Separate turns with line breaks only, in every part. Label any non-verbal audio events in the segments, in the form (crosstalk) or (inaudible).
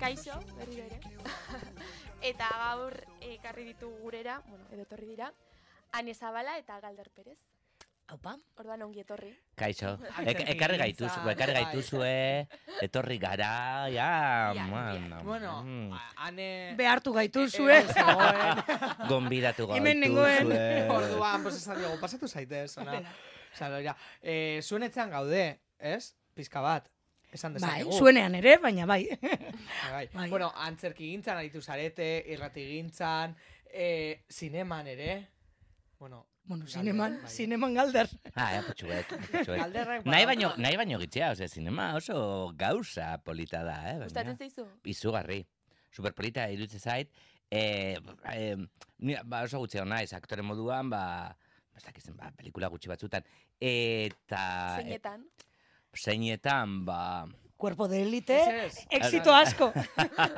Kaixo, berriro ere. eta gaur ekarri ditu gurera, bueno, edo etorri dira, Ane Zabala eta Galder Perez.
Haupa?
Orduan ongi etorri.
Kaixo,
Ai,
Ek, ekarri gaituz,
zentzia.
ekarri gaituzue, etorri gara, ja,
Ja,
man,
Bueno,
mm,
a- ane...
Behartu
Eh,
gaituzue.
eh, zegoen.
gonbidatu
(laughs) Hemen nengoen. (laughs)
gaituzue.
Orduan, pues esan diogu, pasatu
(laughs)
zaitez, ona. Osa, loira, eh, zuen etxean gaude, ez? Pizka bat. Esan
Bai,
dezakegu.
zuenean ere, baina bai.
Bai.
Bai.
Bueno, antzerki gintzan aritu zarete, irrati gintzan, eh, zineman ere. Bueno,
bueno,
Galder,
zineman,
oh.
bai.
zineman galder.
Ah, eh, putxuek, putxuek.
galderrak...
(laughs) Nahi baino, nahi baino gitzea, ose, zinema oso gauza polita da, eh?
Gustatzen
baina-
zaizu?
Izugarri, superpolita irutze zait, eh, eh, ni, ba, oso gutxeo naiz, aktore moduan, ba, ez dakizen, ba, pelikula gutxi batzutan, eta... eh,
Zeinetan?
zeinetan, ba...
Cuerpo de
Ez,
élite,
ez.
éxito
(laughs)
asko.
(laughs)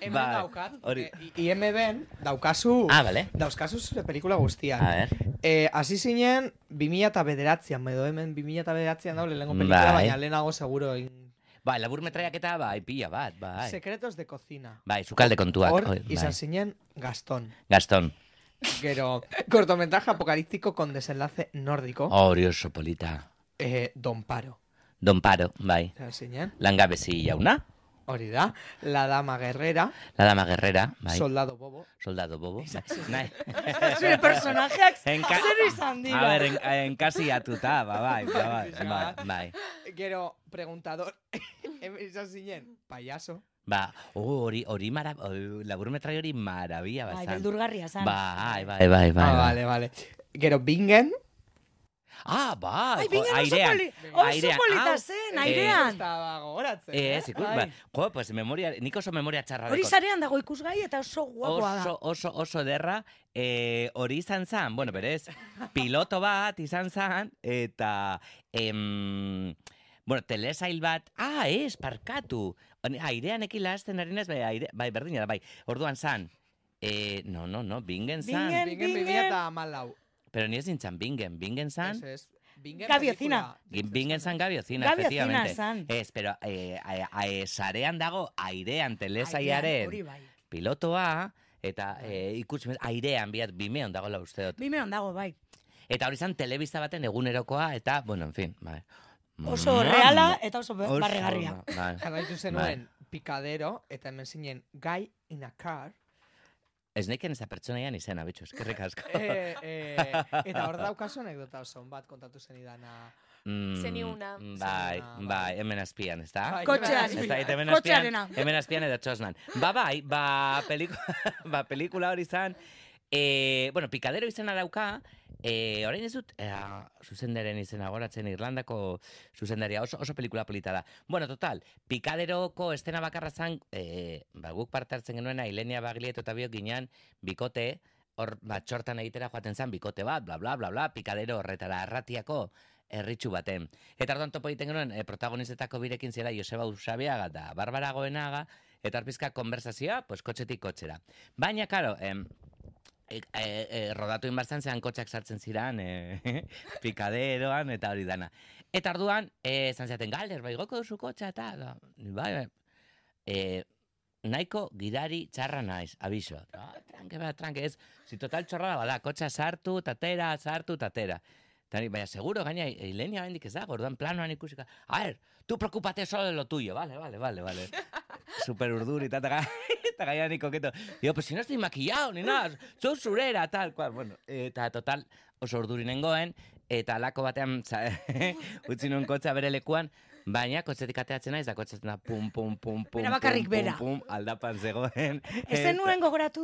Hemen
Bai,
daukat,
hori.
eh, I- IMDb-n daukazu...
Ah, Bai. bale.
Dauzkazu zure pelikula guztiak.
A ver.
Eh, hasi zinen 2009an, edo hemen 2009an daule lehenko pelikula,
Bai.
baina lehenago seguro egin.
Ba, labur metraiak eta bai, pila bat, bai.
Secretos de cocina.
Bai, sukalde kontuak.
Hor,
oi, bai.
izan zinen Gastón.
Gastón,
Gero, cortometraje apocalíptico con desenlace nórdico.
hori oso polita.
Eh, Don Paro.
Don Paro, bai.
Izan zinen.
Langabezi jauna,
Hori da. La dama guerrera.
la dama guerrera, bai.
Soldado bobo.
Soldado bobo. bai. Nahi.
Zure
(laughs)
personajeak
Enka-
zer izan dira.
A ber, en, enkasi atuta, ba, bai, ba, bai, bai, bai.
Gero, preguntador. (laughs) Hemen izan zinen. Payaso.
Ba, oh, hori, hori mara, oh, labur metrai hori marabia
bai,
bazan.
beldurgarria zan.
Bai, bai, bai, bai.
ah, vale, vale. Gero, Bingen.
Ah,
Ai,
bai, jo,
bingen oso
airean.
poli- oso
Airean.
polita
Au,
zen,
eh,
airean.
Estaba gogoratzen.
Ez, ikus,
Ai.
ba, jo, pues memoria, nik oso memoria txarra
Hori
dekot.
zarean dago ikusgai eta oso guapoa da.
eh, Oso, oso, oso derra, eh, hori izan zan, bueno, berez, piloto bat izan zan, eta, em, bueno, telesail bat, ah, ez, parkatu, Hone, airean ekila azten harinez, bai, aire, bai, berdina da, bai, orduan zan, eh, no, no, no, bingen zan,
Bingen.
Bingen, Bingen eta Amalau.
pero ni ez nintzen bingen, bingen zan,
Ez, ez. Bingen
Gabi
pelikula.
Ozina.
Gin- Bingen zan Gabi Ozina,
Gabi Ozina
efectivamente.
zan.
Ez, pero eh, a, a, eh, sarean dago airean
Airean,
telesaiaren
Hori bai.
pilotoa, eta eh, ikusi airean biat bimeon dagoela uste dut.
Bimeon dago bai.
Eta hori izan telebista baten egunerokoa, eta, bueno, en fin. Bai.
Oso
Mamma
reala
mia.
eta oso
Mm-hmm. Oso,
barregarria.
ba- Bai.
Jarraitu zenuen pikadero, eta hemen zinen eh, guy in a car.
Ez neken ez da pertsonaian izena, bitxo, eskerrik asko.
(laughs) Eh, eh, eta hor daukazu anekdota oso on bat kontatu zenidana.
Mm,
Zeniguna.
Bai,
Zeniguna, bai.
bai, hemen azpian, ez da?
Bai,
Kotxean.
Ez da, eta hemen azpian,
Kotxearena.
hemen azpian edo txosnan. Ba, bai, ba, peliku, (laughs) ba pelikula hori izan, e, bueno, pikadero izena dauka, e, orain ez dut, eh, zuzendaren izena goratzen Irlandako zuzendaria oso, oso pelikula polita da. Bueno, total, pikaderoko estena bakarra zan, e, ba, guk parte hartzen genuena, Ilenia Baglieto eta biok ginean, bikote, hor, ba, txortan egitera joaten zan, bikote bat, bla, bla, bla, bla, pikadero horretara, arratiako, erritxu baten. Eta orduan topo egiten genuen eh, protagonistetako birekin zela Joseba Usabiaga eta Barbara Goenaga, eta arpizka konversazioa, pues, kotxetik kotxera. Baina, karo, em, e, e, e, rodatu inbartzen zean kotxak sartzen ziran, e, (laughs) pikaderoan eta hori dana. Eta orduan, e, zan ziaten, galder, bai, goko duzu kotxa eta, da, ni, bai, bai. E, nahiko gidari txarra naiz, abiso. Ah, tranke, ba, tranke, ez, si total txorra bada, kotxa sartu, tatera, sartu, tatera. Eta ni, baina, seguro, gaina, Ilenia bendik ez dago, orduan planoan ikusika, a ver, tu preocupate solo de lo tuyo, vale, vale, vale, (laughs) vale. Super urduri, eta ga- (laughs) eta gaina ni koketo. Digo, pues si no estoy maquillado, ni nada, zon zurera, tal, cual. Bueno, eta total, oso urduri nengoen, eta alako batean, (laughs) za, utzi nuen kotxa bere lekuan, baina kotxetik ateatzen naiz, da kotxetik na pum, pum, pum, pum,
Bera bakarrik
pum, pum,
bera.
pum, aldapan zegoen.
Ez
Eta-
zenuen gogoratu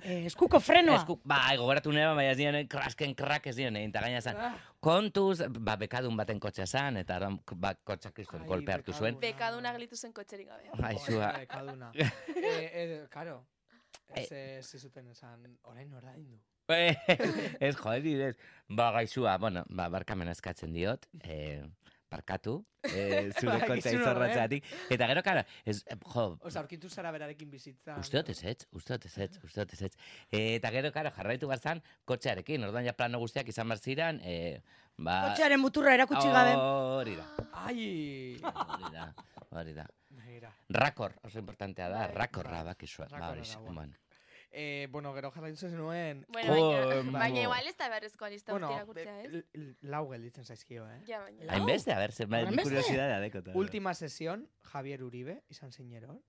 eh, eskuko frenoa.
Esku, ba, gogoratu nire, baina ez dien, krasken krak ez dien, eta gaina zan.
Ah.
Kontuz, ba, bekadun baten kotxe zan, eta orduan, ba, kotxa kriston
Ai,
golpe hartu zuen. (laughs)
bekadun.
Bekaduna gelitu zen kotxerik gabe.
Aixua, (laughs)
Kaduna. eh, eh, karo. Ez, eh, zizuten esan, orain ordaindu.
ez joder, ez. Ba, gaixua, bueno, ba, barkamen eskatzen diot. Eh, parkatu,
(laughs)
eh, zure
Ba,
Badakizu
konta
nola,
izorratzatik.
eh.
Eta gero, kara, ez, eh, jo,
Osa, aurkitu zara berarekin bizitza.
Uste dut ezetz, uste dut ezetz, uste dut ezetz. Eh, Eta gero, karo, jarraitu behar zan, kotxearekin, ordan ja plano guztiak izan behar ziren, eh, ba...
Kotxearen muturra
Ah,
erakutsi gabe.
Hori da,
Ai!
hori da, hori da.
Begira.
Rakor, oso importantea da,
Bai.
rakorra bakizua. Ba,
Rakorra
hori,
da,
bueno.
Eh, bueno, gero jarraitzen zenuen... oh,
Bueno,
Jo,
baina,
vamos.
baina igual ez da beharrezkoa lista
Bueno, eh,
bueno, ez?
l- l- lau gelditzen zaizkio, eh?
Ja, baina.
Lau?
Hainbeste, a ber, zen, bai,
Hainbeste?
kuriosidadea dekota.
Última sesión, Javier Uribe, izan zinero.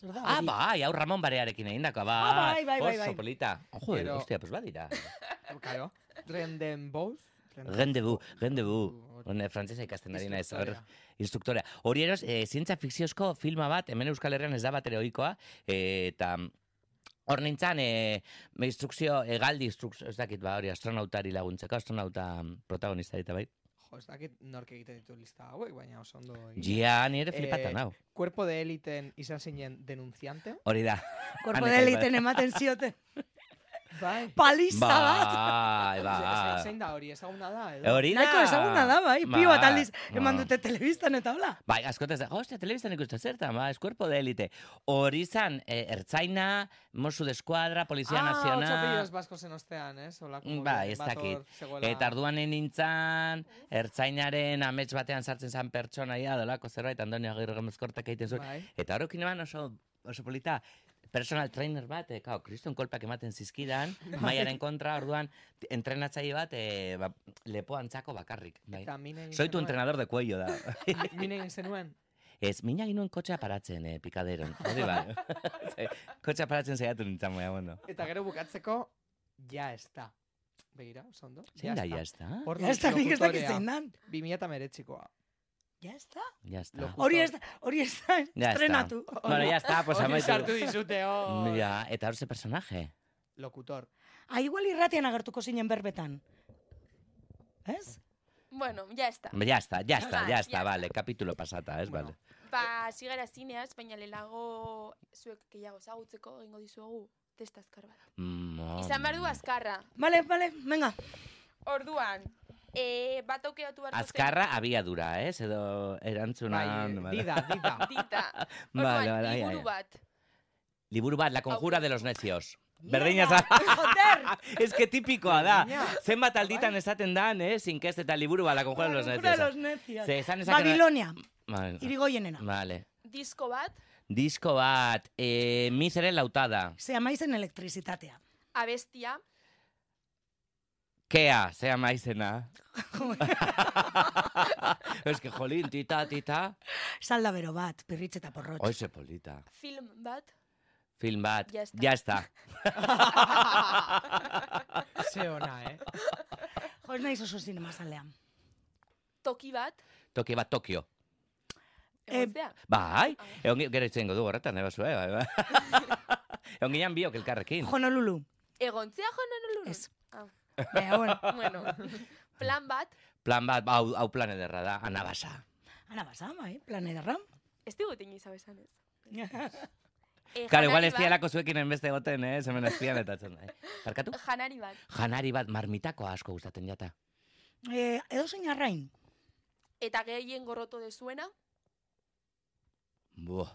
Zer da
Ah,
hori?
bai, hau Ramon Barearekin egindakoa, bai.
Ah, bai, bai, bai, bai.
Oso polita. Ojo,
Gero-
hostia, pues badira.
(laughs)
Claro. Renden Bouz.
Rendezvous, rendezvous. Hone, frantzesa ikasten ari naiz, hor, instruktorea. Hori eros, e, zientza fikziozko filma bat, hemen Euskal Herrian ez da bat ere ohikoa, eh, eta hor nintzen, e, instrukzio, egaldi instrukzio, ez dakit ba, hori astronautari laguntzeko, astronauta protagonista ditu bai.
Jo, ez dakit nork egiten ditu lista hauek, baina oso ondo egin.
Ja, ni ere
Eh,
flipatan hau.
Cuerpo de éliten izan zinen denunciante.
Hori da.
Korpo
Aneka
deliten ematen zioten.
Bai.
Paliza
Ba,
bat.
Bai,
Ze-
bai.
Zein da hori, ezaguna da, edo?
Hori da.
Nahiko ezaguna da, bai. Pio bat
Bai,
aldiz eman
bai.
dute telebistan eta hola.
Bai, askotaz da, hostia, telebiztan ikusten zertan, ba, eskuerpo de élite. Hori zan, eh, ertzaina, mosu de eskuadra, polizia
Ah,
nazional...
ocho pillos vascosen ostean, eh, ez? Holako
Mm,
movida
bai, ez
bat hor
dakit.
zegoela.
Eta arduan nintzan, ertzainaren amets batean sartzen zan pertsonaia, dolako zerbait, Andoni Agirre Gomezkortak egiten zuen.
Bai.
Eta horrekin eman oso, oso polita, personal trainer bat, eh, kao, kriston kolpak ematen zizkidan, maiaren kontra, orduan, entrenatzaile bat, eh, ba, lepoantzako bakarrik. Bai.
Eta min egin
Soy tu
zenuen.
entrenador de cuello da.
(laughs) Mi- Min egin zenuen.
(laughs) Ez, mina ginuen kotxea paratzen, eh, pikaderon. Hori ba. (laughs) kotxea paratzen saiatu nintzen, baina, bueno.
Eta gero bukatzeko, ja ez da. Begira, oso ondo.
Zein da, ya está.
Hor
Ja ez da, nik ez dakit
locutorea,
zein dan.
2019koa.
Ja ez da.
Ya está.
Loco.
Hori ez da, hori ez da,
está.
estrenatu.
Bueno, ya está, pues
Hori
amaitu.
sartu dizute hor.
Ja, eta hor ze personaje.
Locutor.
Ah, igual irratian agertuko zinen berbetan. Ez?
Bueno, ya está.
Ya está, ya está,
Vale,
ya
ya
está,
está.
vale, capítulo pasata, ez,
Bueno.
vale.
Ba, sigara zineaz, baina lelago zuek gehiago zagutzeko egingo dizuegu testa azkar bat.
Mm,
Izan behar du
mm.
azkarra.
Vale, vale, venga.
Orduan, e, bat aukeratu beharko zen-
Azkarra abiadura, ez, edo erantzuna...
Bai, eh, dida,
(laughs)
dida.
Dita. Orduan,
Vale, vale, ai, ai,
liburu
ai.
bat.
(laughs) Liburu bat, la conjura de los necios. Berdina
Mierda,
za. (laughs) es que tipikoa da.
Berdina.
Zenbat alditan esaten dan, eh, inkest eta liburu bat, la conjura de los
Locura de los
necios.
necios.
Ze, esan ezaken-
Babilonia,
Vale.
irigoienena.
Vale.
Disko bat,
Disko bat, eh, Mizere lautada.
Ze amaizen elektrizitatea.
abestia,
Kea, zea maizena. es que jolín, tita, tita.
Salda bero bat, pirritxe eta porrotx.
Oize polita.
film bat,
Film bat.
Ya está.
Ya está.
Ze ona, eh?
Jo, ez naiz oso zinemazalea.
toki bat,
Toki bat Tokio.
Eh,
egotea.
Bai, egon gi- gero itzengo du horretan, eh, basue, bai, bai.
(laughs)
egon ginen biok elkarrekin.
Honolulu.
Egontzea joan anolun?
Ez.
Ah,
Baina, bueno,
bueno. Plan bat,
Plan bat, ba, hau, hau plan ederra da, anabasa.
ana basa, bai, plan ederra.
ez diguten inoiz abesan ez.
Eh,
E,
Claro, igual ez
janari bat-
dialako zuekin enbeste egoten, eh, zemen azpian eta zen.
(laughs)
Eh. Barkatu?
Janari bat,
Janari bat marmitako asko gustatzen jata.
(laughs) Eh, edo zein arrain.
eta gehien gorroto dezuena,
Buh.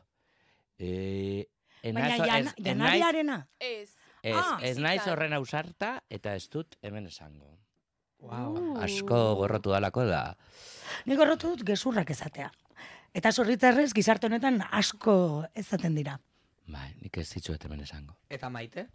Eh,
Baina
enaiz-
jana,
ez- enaiz-
janariarena.
ez,
Ez,
Ah.
ez naiz
Bizitan.
horren ausarta eta ez dut hemen esango.
Wow.
Uh.
Asko gorrotu dalako da.
Nik horrotu dut gezurrak ezatea. Eta zorritzarrez gizarte honetan asko ezaten dira.
Bai, nik ez ditzuet hemen esango.
Eta maite?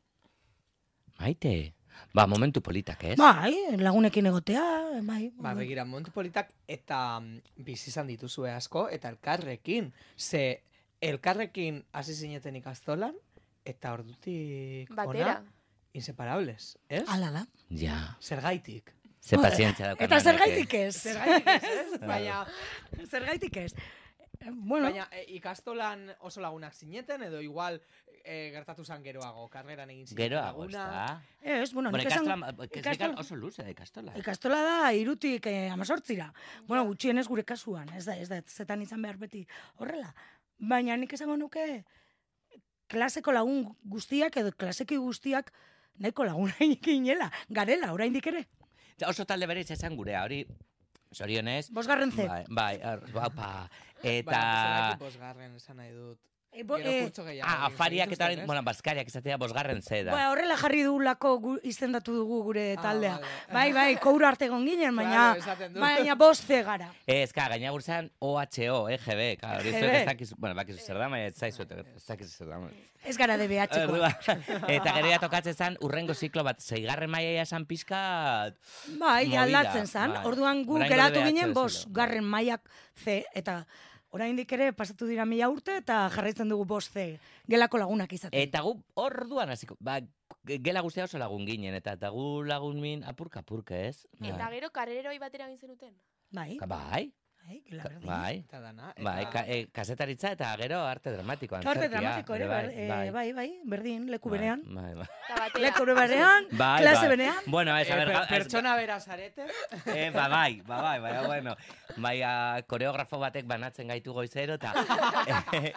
Maite, ba, momentu politak, ez?
Bai, lagunekin egotea, bai.
Ba, begira, Montpolitak eta mm, bizi izan dituzue asko, eta elkarrekin. Ze, elkarrekin hasi zineten ikastolan, eta ordutik
batera.
ona, inseparables, ez?
Ala da.
Ja,
Zergaitik.
ze pazientzia daukan.
Ba, Eta
lanek,
zergaitik ez.
(laughs) Zergaitik, ez? Baina,
Zergaitik ez. Eh, Bueno,
baina e, ikastolan oso lagunak zineten, edo igual e, gertatu zan geroago, karreran egin
eh.
zineten
Geroago, ez
laguna.
da?
ez, bueno,
Bueno,
nik esan...
ikastola,
ikastola-
que ikastola, oso luze da ikastola.
Ikastola da, irutik eh, amazortzira. Bueno, gutxienez gure kasuan, ez da, ez da, zetan izan behar beti horrela. Baina nik esango nuke klaseko lagun guztiak edo klaseki guztiak nahiko lagunak inela, garela, oraindik ere.
Oso talde bere izan gurea, hori Sorionez.
Bosgarren ze.
Bai, bai, ar- baupa. Eta...
Eta... Bosgarren esan nahi dut.
E, bo-
Gero
e,
kurtso gehiago.
Ah,
egin
afariak eta
zituzten,
orain,
ez?
bueno, bazkariak izatea bosgarren zeda.
ba, horrela jarri dugulako gu- izendatu dugu gure
Ah,
taldea.
vale.
Bai, bai, koura arte egon ginen, baina,
Claro, esaten du.
baina boste gara.
Ez, ka, gaina gurzan OHO, EGB, eh, ka, hori zuek
EGB.
ez dakizu, bueno, bakizu zer da, baina ez zaizu, ez dakizu zer da. Eh, ba.
Ez gara de behatxeko.
(laughs) Eta gero ja tokatzen zen, urrengo ziklo bat, zeigarren maia esan pizkat,
Bai,
Movida,
aldatzen zan.
bai.
Orduan gu
Oraingo
geratu
DBH
ginen
bezala.
bos garren mailak ze eta oraindik ere pasatu dira mila urte eta jarraitzen dugu bost ze gelako lagunak izaten.
Eta gu orduan hasiko, ba, gela guztia oso lagun ginen, eta, eta gu lagun min apurka apurka, ez? Bai.
Eta gero karreroi batera egin zenuten.
bai,
Ka- Bai,
bai, gela
ka-
berdin.
bai.
Eta dana. eta-
Bai, ka, e, kasetaritza eta gero arte dramatiko
Arte
antzerkia,
dramatiko ere, bai, eh, bai, bai, berdin, leku berean.
Bai, bai.
Eta batera.
Leku berean,
Bai,
klase
bai.
berean.
Bueno, ez,
Eh,
a ber,
per-
ga- ez,
pertsona bera zarete.
eh, ba, bai, ba, bai, baina, bueno, baina koreografo batek banatzen gaitu
(laughs)
goizero, eta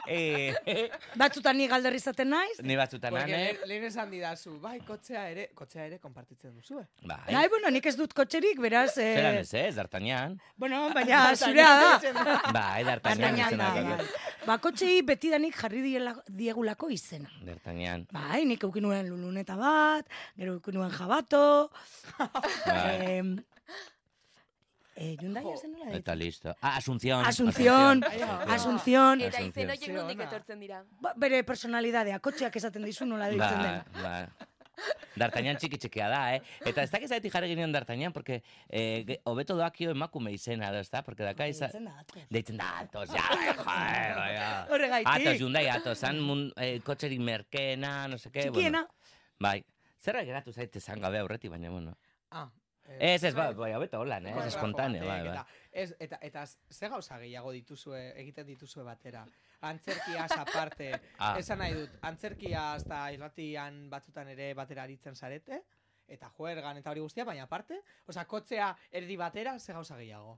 eh, eh,
Batzutan ni galder izaten naiz.
ni batzutan
Porque
ane,
lehen- lehen esan didazu, bai, kotzea ere, kotzea ere konpartitzen duzu, eh?
bai,
Nahi, bueno, nik ez dut kotxerik, beraz,
zeran
eh,
ez ez, d'artanian,
bueno, baina
(laughs)
zurea da.
bai,
Artainan
d'artanian,
da,
izena daukat.
bai. Ba, kotxei betidanik jarri diela- diegulako izena.
d'artanian,
Bai, nik eukin nuen luluneta bat, gero eukin nuen jabato.
bai,
Eh, eh, Yundaia zen nola
eta
ditu?
listo. Ah, Asunción. Eh.
Asunción, Asunción,
Eta
Asunción.
izen horiek
Ze
nondik
ona.
etortzen dira.
ba, bere personalidadea, kotxeak esaten dizu nola deitzen
Ba,
dena.
ba. D'Artagnan txiki txikia da, eh? Eta ez dakiz zaitik jarri ginen D'Artagnan, porque eh, ge- hobeto doakio emakume izena, da, ezta? Porque daka iza...
Deitzen da, atos.
Deitzen da, atos, ja, joder, ja.
Horregaitik.
Atos, jundai, atos, han mun, eh, kotxerik merkeena, no seke,
Txikiena,
Bueno. Bai. Zerra geratu zaite zan gabe aurretik, baina, bueno.
Ah, eh,
Ez, ez, bai, bai, hobeto holan, eh?
koreografo
Espontaneo, bai,
batek
bai.
Eta, ez, eta, eta ze gauza gehiago dituzue, egiten dituzue batera? Antzerkiaz aparte,
(laughs) Ah.
esan nahi dut, antzerkiaz eta irratian batzutan ere batera aritzen zarete, eta juergan eta hori guztia, baina aparte, osea, kotzea erdi batera, ze gauza gehiago.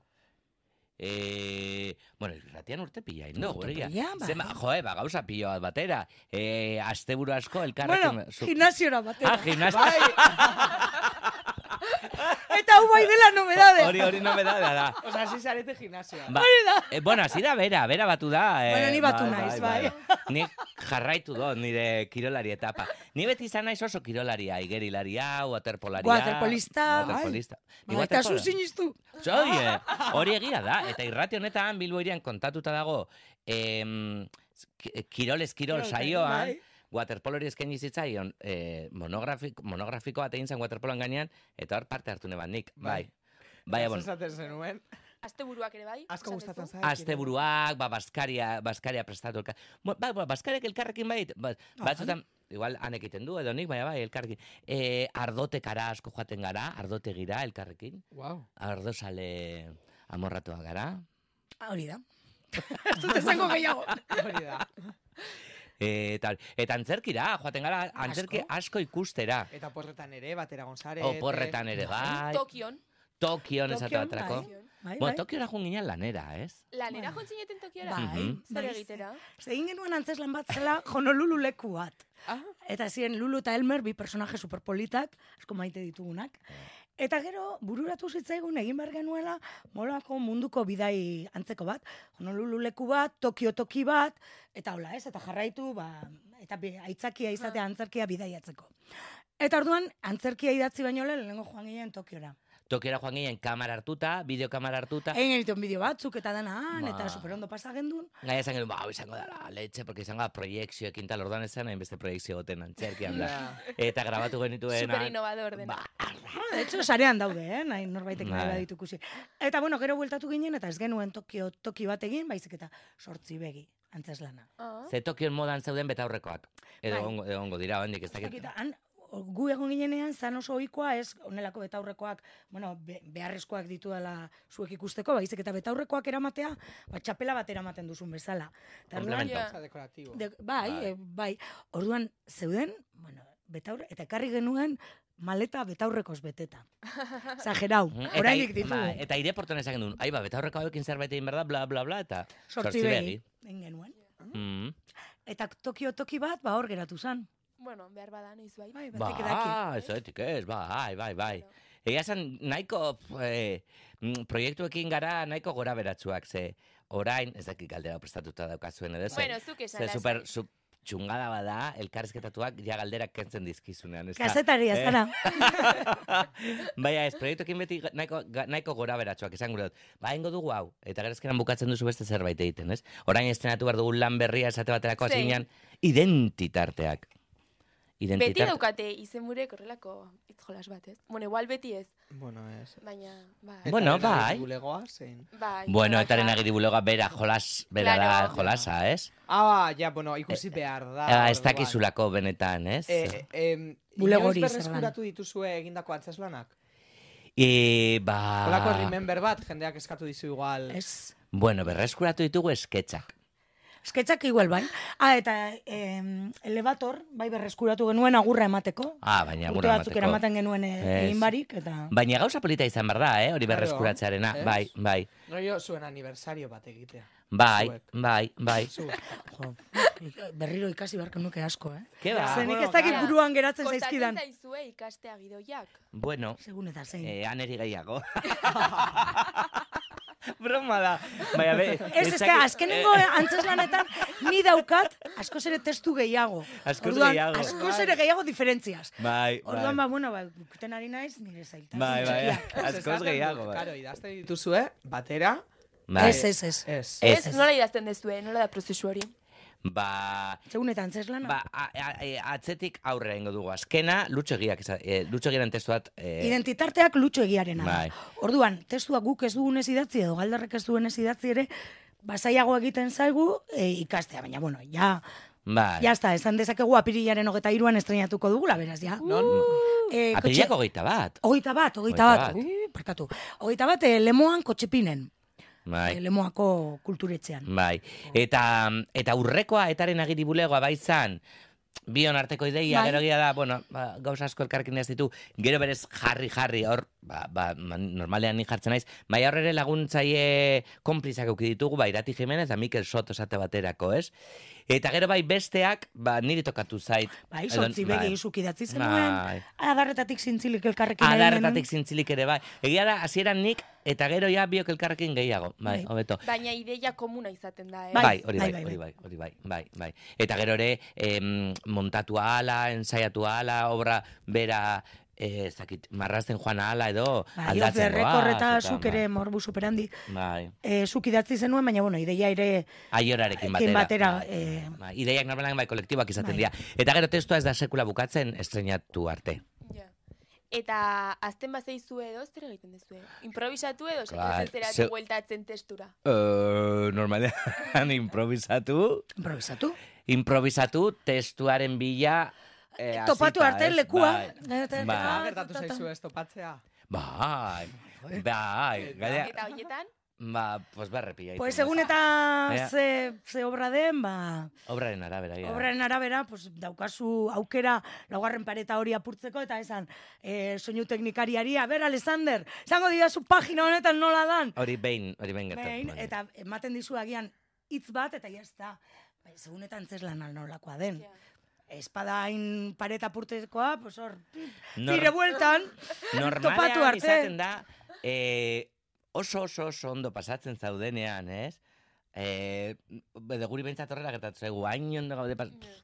Eh, bueno, irratian urte pila indo,
Urte
gure ja.
pila, bai.
Zema, joe, ba, gauza pilo bat batera. Eh, asteburu asko, elkarrekin...
bueno,
zu-
gimnasiora
Ah,
batera.
gimnasio.
Bai,
Eta hau bai dela Bai,
Hori,
nobedade.
hori nobedadea da.
osea, hasi zarete gimnasioa.
Ba, eh, bueno, hasi da bera, bera batu da. Eh,
Bueno, ni batu naiz, bai.
(laughs) Ni jarraitu dut nire kirolari etapa. Ni beti izan naiz oso kirolaria, igerilaria, waterpolaria.
Waterpolista, bai.
Waterpolista. Ni
Ba, Eta zu
waterpolo-
siniztu.
Zoi, eh, hori egia da. Eta irrati honetan Bilbo irian kontatuta dago em, ki- kirol ez kirol saioan,
Bai.
waterpolori eskaini zitzaion eh, monografiko, monografiko bat egin zen waterpoloan gainean, eta hor parte hartu neban nik, bai. Bai,
Ez
bueno,
esaten zenuen,
Azte buruak ere bai.
asko
esan
gustatzen
duzu.
zait.
asteburuak, ba, baskaria, baskaria prestatu elkar. Ba, ba, baskariak elkarrekin bai, ba, batzutan, igual han egiten du edo nik, baina bai, elkarrekin. E, ardotekara asko joaten gara, ardotegira elkarrekin,
Wow.
ardozale amorratua gara.
Ah, Hori (laughs) da. Ez dut esango gehiago.
Hori da.
E, eta, eta antzerkira, joaten gara, antzerki
Asko.
asko ikustera.
Eta porretan ere, batera gonzare.
Oh, Oporretan ere bai,
Tokion.
Tokion esatu
Tokion,
atrako.
bai.
Tokion.
Bai,
Bo,
bai.
Tokiora joan ginen lanera, ez?
Lanera
Bueno.
joan zineten tokiora.
Bai,
Mhm.
Zer
bai,
egitera?
ze- Egin genuen antzeslan bat zela Honolulu leku bat.
Ah.
Eta ziren Lulu eta Elmer bi personaje superpolitak, asko maite ditugunak. Eta gero, bururatu zitzaigun egin behar genuela molako munduko bidai antzeko bat. Honolulu leku bat, Tokio toki bat, eta hola ez, eta jarraitu, ba, eta bi- aitzakia izatea antzerkia bidaiatzeko. Eta orduan, antzerkia idatzi baino lehen, lehenengo joan ginen Tokiora.
Tokiora joan ginen kamera hartuta, bideokamera hartuta.
Egin genituen bideo batzuk eta dana han,
Ba.
eta superondo pasa gendun.
Gaia esan genuen, ba, hau izango dara, letxe, porque izango da proiekzioekin tal orduan esan, hainbeste proiekzio goten antzerkian da. Eta grabatu genituen...
Super
han-
innovador dena.
Ba, arra.
De hecho, sarean daude, eh? Nahi norbaitek nahi
Bai.
baditu ikusi. Eta, bueno, gero bueltatu ginen, eta ez genuen Tokio toki bat egin, baizik eta sortzi begi, antzeslana.
Ah.
Ze Tokion modan zeuden betaurrekoak. Edo
Bai.
ongo, ongo dira, hendik ez dakit.
Eta, han, o- gu egon ginenean, zan oso ohikoa, ez, onelako betaurrekoak, bueno, be, beharrezkoak ditudala zuek ikusteko, baizik eta betaurrekoak eramatea, ba, txapela bat eramaten duzun bezala. Eta orduan-
Komplemento.
Ja.
dekoratibo.
De, bai,
Bai.
bai. bai. Orduan zeuden, bueno, betaurre, eta ekarri genuen maleta betaurrekoz beteta.
(laughs)
Zagerau,
Mhm, eta
orainik
i-
Ah. ditugu.
bai, eta aireportuan esan genuen, ai ba, betaurreko hauekin zerbait egin behar da, bla, bla, bla, eta...
Sortzi begi. Egin genuen.
Mm.
Eta Tokio toki bat, ba hor geratu zan.
Bueno, behar bada noiz bai.
ah,
Bai, batek edaki.
Ba, ez etik ez, Ba, bai, bai, bai. Egia esan, nahiko eh, mm, proiektuekin gara nahiko gora beratxuak, ze orain, ez dakit galdera hau prestatuta daukazuen edo, ze,
Bueno, zuk
ze
esan.
super, sup, txungada bada, elkarrezketatuak ja galderak kentzen dizkizunean. Ez da?
Kazetaria,
Eh.
zara.
Baina ez, proiektuekin beti ga- nahiko, ga- nahiko gora beratxoak esan gure dut. Ba, ingo dugu hau, eta gerezkenan bukatzen duzu beste zerbait egiten, ez? Orain estrenatu behar dugu lan berria esate baterako hasi
Zein?
ginen identitarteak.
Beti
Identitar-
daukate izenburek horrelako itzjolas bat, ez? Bueno, igual beti ez,
Bueno, ez.
baina... Ba,
Eta
Bueno,
bera
bai.
Bulegoa zein.
bai,
Bueno,
trabaja-
etaren agidibuloga bera jolas, bera da
Claro.
jolasa, ez?
Ah, ja, bueno, ikusi behar da.
Ah, ez
orduan.
dakizulako benetan, ez?
Eh, eh,
Bulego
Bulegori
hori zergan.
berreskuratu dituzue egindako antzeslanak.
E,
Ah.
ba...
Olako remember bat, jendeak eskatu dizu igual.
Ez.
Bueno, berreskuratu ditugu esketxak.
Esketxak igual bai. Ah, eta em, elevator, bai berreskuratu genuen agurra emateko.
Ah, baina
Urte
gura
batzuk
emateko.
eramaten genuen eh,
Ez. Ba-
egin barik, eta...
Baina gauza polita izan behar da, eh? Hori
Claro,
berreskuratzearena.
ez?
Bai, bai.
Rollo zuen aniversario bat egitea.
Bai,
Zuek.
bai, bai.
Zu.
Jo, berriro ikasi beharko nuke asko, eh?
Ke
Ah,
ba?
Zenik
bueno,
ez dakit
gara.
buruan geratzen
Kostatzen
zaizkidan.
zaizue ikastea gidoiak.
Bueno,
Segun eta zein.
eh, aneri gehiago. Broma da. Baina, be,
Ez, ez,
dakit-
que azkenengo
eh,
antzeslanetan ni daukat askoz ere testu gehiago.
Askoz
Orduan,
gehiago.
Askoz ere gehiago diferentziaz.
Bai,
Orduan, ba,
bai.
bueno, ba, ikusten ari naiz, nire zailtasun
Bai, bai,
txikiak.
(laughs) askoz gehiago. bai.
Karo, idazte dituzue, batera, Eh,
Bai.
Ez, ez, ez.
ez.
Ez.
Ez, nola idazten dezue, nola da prozesu hori.
Ba,
Segun eta antzeslana.
ba a, a- e, atzetik aurre egingo dugu. Azkena, lutxegiak, e, lutxegiran testu bat... E,
Identitarteak lutxo egiarena. da.
Bai.
Orduan, testua guk ez dugunez idatzi edo galdarrek ez dugunez idatzi ere, basaiago egiten zaigu e, ikastea, baina bueno, ja,
bai.
ja está, esan dezakegu apirilaren hogeta iruan estrenatuko dugula, beraz, ja.
Non?
E,
Apilak hogeita bat.
Hogeita bat, hogeita
Hogeita
bat,
bat.
Ui, parkatu. Hogeita bat, eh, lemoan kotxepinen, eh,
Bai.
lemoako kulturetzean.
Bai. Eta, eta urrekoa, etaren agiribulegoa bai zan, bion arteko ideia,
Bai.
gero egia da, bueno, ba, gauza asko elkarrekin ez ditu, gero berez jarri, jarri, hor, ba, ba, man- normalean ni jartzen naiz, bai hor ere laguntzaile konplizak euki ditugu, bai, Irati Jimenez, da Mikel Soto esate baterako, ez? Eta gero bai besteak, ba, niri tokatu zait.
Bai,
Edo-
sortzi begi izuk idatzi zenuen,
Bai.
adarretatik zintzilik elkarrekin. egin
Adarretatik
genuen.
zintzilik ere, bai. Egia da, hasieran nik, eta gero ja biok elkarrekin gehiago.
Bai.
Bai, hobeto.
Baina ideia komuna izaten da, eh?
Bai, hori bai,
bai, bai,
hori bai, hori bai, bai, bai. Eta gero ere, em, montatu ala, ensaiatu ala, obra bera, eh, ez dakit, marrasten joan ala
Bai,
edo,
off the
aldatzen goaz,
record eta
eta,
zuk
bai,
ere morbu superandi.
Bai,
E, zuk idatzi zenuen, baina bueno, ideia ere
aiorarekin
Ekin
batera.
batera,
bai,
eh,
bai, ideiak normalean bai kolektiboak
bai.
izaten dira. Eta gero testua ez da sekula bukatzen estrenatu arte.
Ja. Eta azten bazaizue edo, zer egiten dezue? Improvisatu edo,
Claro,
sekatzen zera
ze-
bueltatzen testura.
Uh, normalean improvisatu,
improvisatu.
improvisatu testuaren bila eh,
Topatu
hasita,
arte
ez?
lekua.
Bai.
Eta-
Bai.
Ah,
Ah,
gertatu
ta- ta-
zaizu ez topatzea.
Bai, bai, gaina,
Eta hoietan,
ba, pues berre pila.
Pues
izan
segun
da.
eta
Ea.
ze, ze obra den, ba,
Obraren arabera, ja.
obraren arabera, pues, daukazu aukera laugarren pareta hori apurtzeko, eta esan, e, soinu teknikariari, a ber, Alexander, zango dira zu pagina honetan nola dan.
Hori behin, hori behin
Behin,
gertatu. da.
eta ematen dizu agian hitz bat, eta ya está. Bai, segun eta antzeslan nolakoa den.
ja.
Espada hain pareta apurtzekoa, pues hor,
Nor-
tire bueltan,
normalean
topatu arte.
izaten da, eh, oso oso oso ondo pasatzen zaudenean, ez? Eh, edo guri behintzat horrela gertatu zaigu, hain ondo gaude pas-
Ja.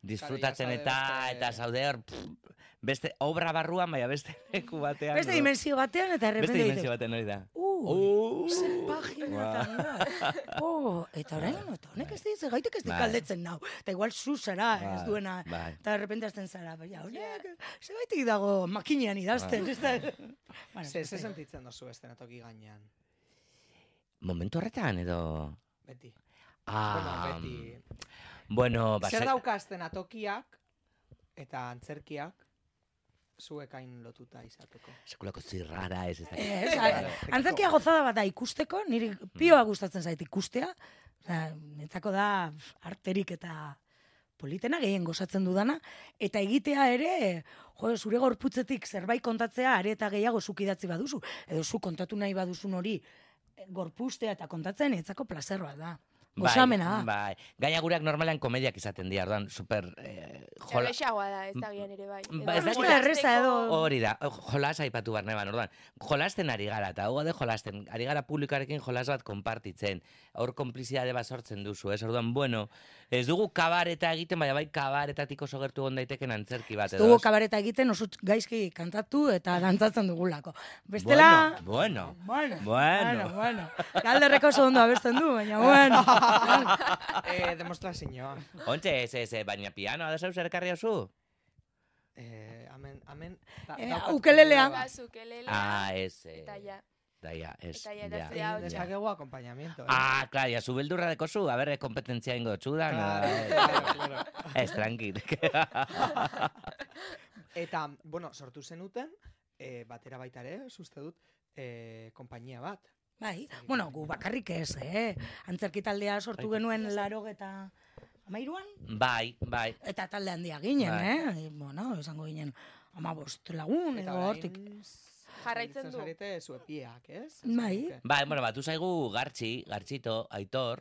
disfrutatzen
Claro, ja
eta eta
zaude beste-
zaude hor pff, beste obra barruan, baina beste (laughs) leku batean.
beste
edo-
dimensio batean, eta
Beste
errepende
dimensio
dices,
batean hori da.
uh,
Uh,
Zer pagina
Ua.
tan da.
(laughs)
Oh, eta orain eta honek ez diz, gaitek ez dit
Bai.
galdetzen nau. Eta igual zu zara, ez
Bai,
duena.
bai.
Eta de repente hasten zara, baina honek, ze gaitek dago makinean idazten.
Bai.
ez da- Bueno,
Ze,
ez
ze
da-
sentitzen duzu estenatoki gainean,
Momentu horretan edo...
beti.
Ah, mm.
bueno, beti.
bueno, ba,
Zer
se-
dauka estenatokiak eta antzerkiak zuekain lotuta izateko.
(laughs)
Sekulako zirrara ez, ez dakit.
Ez,
bai,
a- antzerkia gozada bat da ikusteko, niri pioa gustatzen zait ikustea. Osea, netzako da arterik eta politena gehien gozatzen dudana eta egitea ere jo, zure gorputzetik zerbait kontatzea are eta gehiago zuk idatzi baduzu edo zu kontatu nahi baduzun hori eh, gorpustea eta kontatzen etzako plazer bat da
Bai,
Osamena da.
Bai. Gaina gureak normalean komediak izaten dira, orduan, super... Eh, jola-
Jolaxagoa da, ez da bian ere bai.
Ba, ez
Edo
dakit-
jolasteko-
Erreza edo-
Hori da, jolas aipatu behar neban, orduan. Jolasten ari gara, eta hau de jolasten, ari gara publikarekin jolas bat konpartitzen, hor konplizidade bat sortzen duzu, ez? Orduan, bueno, ez dugu kabareta egiten, baina bai kabaretatik oso gertu egon daiteken antzerki bat,
Ez
edo?
dugu kabareta egiten oso gaizki kantatu eta dantzatzen dugulako. Bestela...
Bueno,
Bueno,
Bueno.
bueno, bueno. Galderreko oso ondo abesten du, baina
(laughs)
bueno.
eh, demostrazioa.
bueno. Ontxe, ez, ez, ez, baina pianoa da zeu zerkarri oso?
Eh, amen, amen.
Eh,
daukat-
ukelelea.
Ba, zukelelea,
Ah, ez, ez.
Eta ja,
Daia, ez.
Eta ja, eta
ja.
zure hau
Egin dezakegu acompañamiento. eh.
Ah, claro, ya su beldurra dekozu, a ber, kompetentzia ingo txuda,
Claro,
nada,
claro, claro.
(laughs) ez, tranquil. (laughs)
Eta, bueno, sortu zenuten, eh, batera baita ere, uste dut, eh, kompainia bat.
Bai, bueno, gu bakarrik ez, eh? Antzerki taldea sortu
Bai.
genuen laro eta amairuan,
Bai, bai.
eta talde handia ginen,
Bai.
eh? Bueno, esango ginen, ama bost lagun, edo hortik.
Jarraitzen du.
Zarete zuepiak, ez?
Bai.
Zuek.
Bai, bueno, batu zaigu gartxi, gartxito, aitor,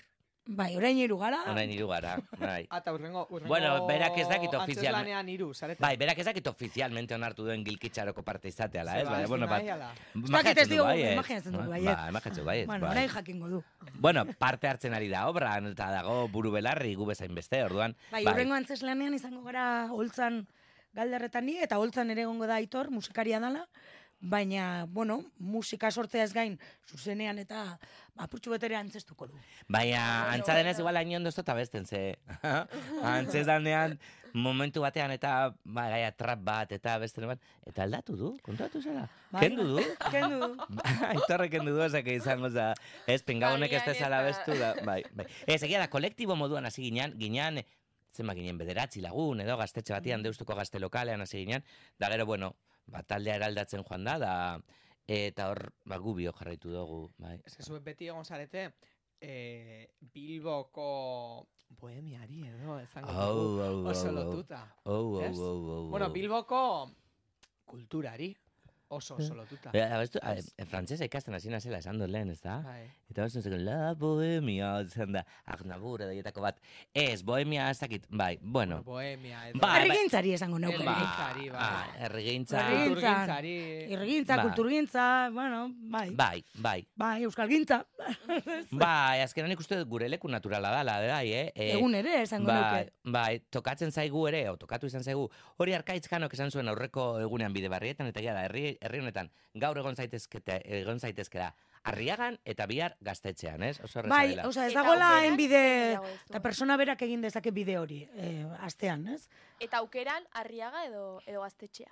Bai, orain hiru gara,
Ah.
orain hiru gara. Bai.
Ata urrengo, urrengo...
Bueno, berak ez dakit ofizial-
Antzeslanean iru, zarete.
Bai, berak ez dakit ofizialmente onartu duen gilkitxaroko parte izateala, ez?
Ze
Baina,
ba,
bueno,
ez
bat...
nahi ala.
dakit Bai, ez
imaginatzen du
diogu,
baietz.
imaginatzen dugu baietz.
Ba, imaginatzen du baietz,
bueno,
bai.
orain jakingo du.
Bueno, parte hartzen ari da obran, eta dago buru belarri gu bezain beste, orduan.
Bai, horrengo antzeslanean izango gara holtzan galderretan ni, eta holtzan ere egongo da aitor, musikaria dala, baina, bueno, musika sortzea ez gain, zuzenean eta apurtxu betere antzestuko du.
Baina,
Bueno,
antza denez
bueno.
igual hain ondo ez dut abesten, ze. (laughs) Antzez danean, momentu batean eta, ba, gaia trap bat, eta beste bat, eta aldatu du, kontratu zela.
Bai,
Kendu du.
Kendu
(laughs) Ba,
du.
Aitorrek kendu du, ezak izango za. Ez, pinga honek ez
Agian ez
dezala
da.
bestu da.
(laughs)
Bai, bai. Ez, egia da, kolektibo moduan hasi ginean, ginean, zenba ginen bederatzi lagun, edo gaztetxe
Mm.
batian, deustuko gazte lokalean hasi ginean, da gero, bueno, ba, taldea eraldatzen joan da, da, eta hor, ba, gubio jarraitu dugu, bai.
Ez que zuek beti egon zarete, eh, Bilboko... Bohemiari edo,
Au,
ezango
au, au,
dugu.
au,
Oso
au,
lotuta.
au, au,
ez?
au, au.
Bueno, Bilboko kulturari oso oso lotuta.
Eh, abestu, a, eh, frantsesa ikasten hasi nazela esan dut lehen, ez da?
Bai.
Eta hori zen, la bohemia, zen da, agnabur edo ietako bat. Ez, bohemia ez dakit, bai, bueno.
Bohemia edo.
Bai, bai.
Erregintzari esango neuke.
Ba,
nik.
herrigintzari, bai.
ah, herrigintza.
Herrigintza.
Kulturgintzari.
Irrigintza,
Ba.
kulturgintza, bueno, bai.
Bai, bai,
Bai, euskalgintza.
bai, azkenan ikuste dut gure leku naturala dala, bai, eh? Eh,
Egun ere esango
Bai,
neuke.
bai, tokatzen zaigu ere, o tokatu izan zaigu, hori arkaitzkanok esan zuen aurreko egunean bide barrietan, eta egia da, herri, herri honetan, gaur egon zaitezketa, egon zaitezkera, arriagan eta bihar gaztetxean, ez? Oso erraza
Bai,
dela.
osea, ez
Eta
dagoela
aukeran
enbide,
zein dago ez du?
Eh, eta persona berak egin dezake bide hori, eh, astean, ez?
Eta aukeran, arriaga edo, edo gaztetxea.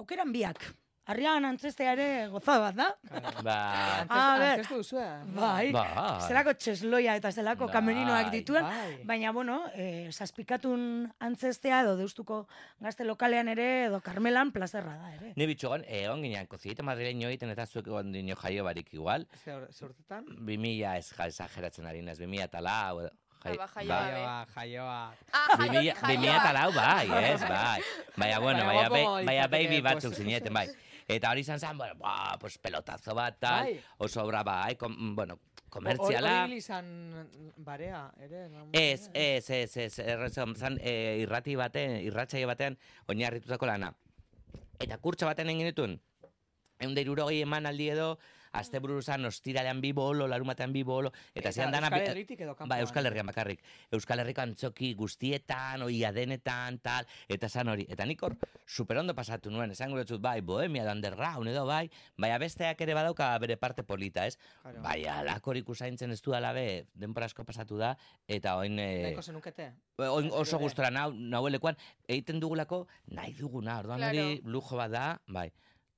Aukeran biak. Arriagan antzestea ere goza bat da.
Ba,
Antzez-
A ber.
Antzestu duzu, eh?
Bai.
ba.
Zelako txesloia eta zelako
Bai,
kamerinoak dituen.
bai.
Baina, bueno, eh, saspikatun antzestea edo deustuko gazte lokalean ere edo karmelan plazerra da ere.
Ni bitxogan, egon ginean, kozieta madrileño egiten eta zuek egon dino jaio barik igual.
Zer- zer urtetan?
2000 ez ja, esageratzen ari naz, 2000 eta lau. edo, bai,
Ah, ba, jaio gabe.
Jaioa, jaioa.
Ah,
Bi mila- bi mila eta lau, bai, ez, bai. Baina, bueno,
Baina
baina,
guapo
bai- baina
litzateke,
baby batzuk
pues.
zineten, bai. Eta hori izan zen, bueno, ba, pues pelotazo bat, tal,
Bai.
oso braba, bai, kom, bueno,
Hor-
komertziala.
hor ibili izan barea, ere? Ramon?
Ez, ez, ez, ez, errezon zan, e, irrati baten, irratxai batean, oinarritutako lana. Eta kurtsa baten egin ditun, egun da irurogei eman aldi edo, azte buru zan, ostiralean bi bolo, larumatean bi bolo, eta, zean dana...
Euskal Herritik edo
Ba,
kanpoan?
Euskal Herrian bakarrik. Euskal Herriko antzoki guztietan, oia denetan, tal, eta zan hori. Eta nik hor, superondo pasatu nuen, esan gure dut, bai, bohemia da underground edo bai, baina besteak ere badauka bere parte polita, ez?
Claro.
Bai, alakorik usaintzen ez du alabe, denpora asko pasatu da, eta oin... eh,
Nahiko zenukete?
Oin,
Eta
oso
zure-
gustora nau, nauelekuan, egiten dugulako nahi duguna, orduan
Claro.
hori lujo bat da, bai.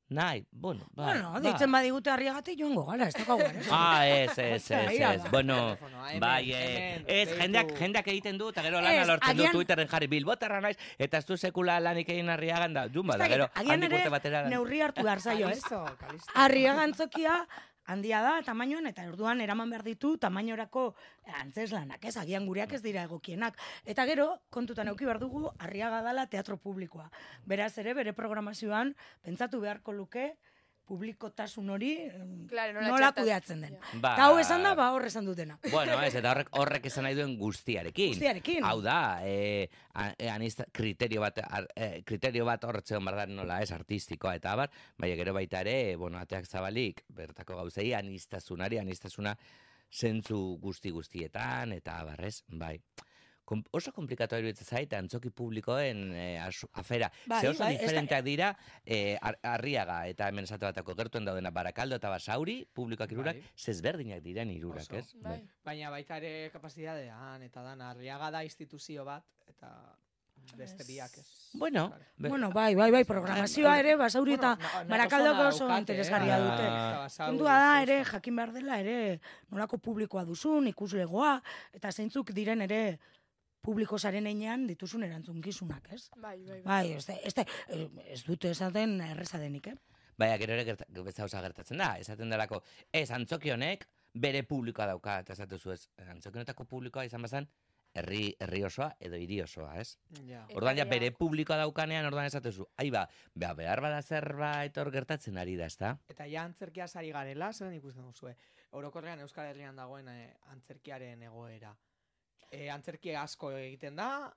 Nahi, bueno, ba,
bueno,
ba.
deitzen badigute harriagatik joango gara, ez daukagu
(laughs)
arazorik.
Ah, ez, ez,
Ostras,
ez,
ia
ez,
da.
bueno,
Telefonoa, hemen,
bai, eh,
hemen,
ez,
deitu.
jendeak, jendeak egiten du, eta gero lana
Ez,
lortzen du
agian-
Twitterren jarri bilbotarra naiz, eta ez du sekula lanik egin arriagan da, jumba,
Ez
da,
dakit,
gero,
agian
handik
ere
urte batera,
Neurri hartu behar zaio, ez?
Kalisto, kalisto.
Arriagantzokia handia da tamainoan eta orduan eraman behar ditu tamainorako antzeslanak, ez? Agian gureak ez dira egokienak. Eta gero, kontutan eduki behar dugu, arriaga dala teatro publikoa. Beraz ere, bere programazioan, pentsatu beharko luke, publikotasun hori em,
Claro, nola,
nola
txertatu.
kudeatzen den.
Ja.
Ba,
Eta hau esan da, ba, hor esan dutena.
Bueno, ez, eta horrek, horrek esan nahi duen guztiarekin.
Guztiarekin.
Hau da, eh, a- eh, anista, kriterio bat, ar, eh, kriterio bat hortzeon behar da nola ez, artistikoa eta abar, baina gero baita ere, eh, bueno, ateak zabalik, bertako gauzei, anistazunari, anistasuna zentzu guzti guztietan, eta abarrez, bai. Kom, oso komplikatu iruditzen zait, antzoki publikoen eh, asu- afera.
Bai,
Ze oso
bai, ez da-
diferenteak dira, eh, ar- arriaga eta hemen esate batako gertuen daudena barakaldo eta basauri, publikoak irurak,
Bai.
zezberdinak diren irurak,
Oso.
ez?
Bai.
Baina baita ere kapasitatean eta dana, arriaga da instituzio bat eta beste biak ez.
Bueno,
Claro.
be-
Bueno, bai, bai, bai, programazioa ere, basauri eta
Bueno, na- na-
barakaldoko
oso
oso
daukate, eh,
interesgarria
ba-
dute.
eta basauri,
Kontua da
oso-
ere, jakin behar dela ere, nolako publikoa duzun, ikuslegoa, eta zeintzuk diren ere publiko zaren einean dituzun erantzunkizunak, ez?
Bai, bai, bai.
Bai, ez, da- ez, da- eh, ez dute esaten erreza denik, eh?
Baina Bai, gero ere gerta, bezauza gertatzen da, esaten delako, ez, antzoki honek bere publikoa dauka, eta esatu zu ez, antzoki honetako publikoa izan bazan, herri, herri osoa edo hiri osoa, ez?
Ja.
Eta
Ordan ja
ja-
bere publikoa daukanean, ordan esatu zu, ahi ba, ba, behar bada zerbait hor gertatzen ari da, ezta?
Eta ja antzerkia sari garela, zelan ikusten duzue. Orokorrean Euskal Herrian dagoen eh, antzerkiaren egoera. Eh, antzerki asko egiten da,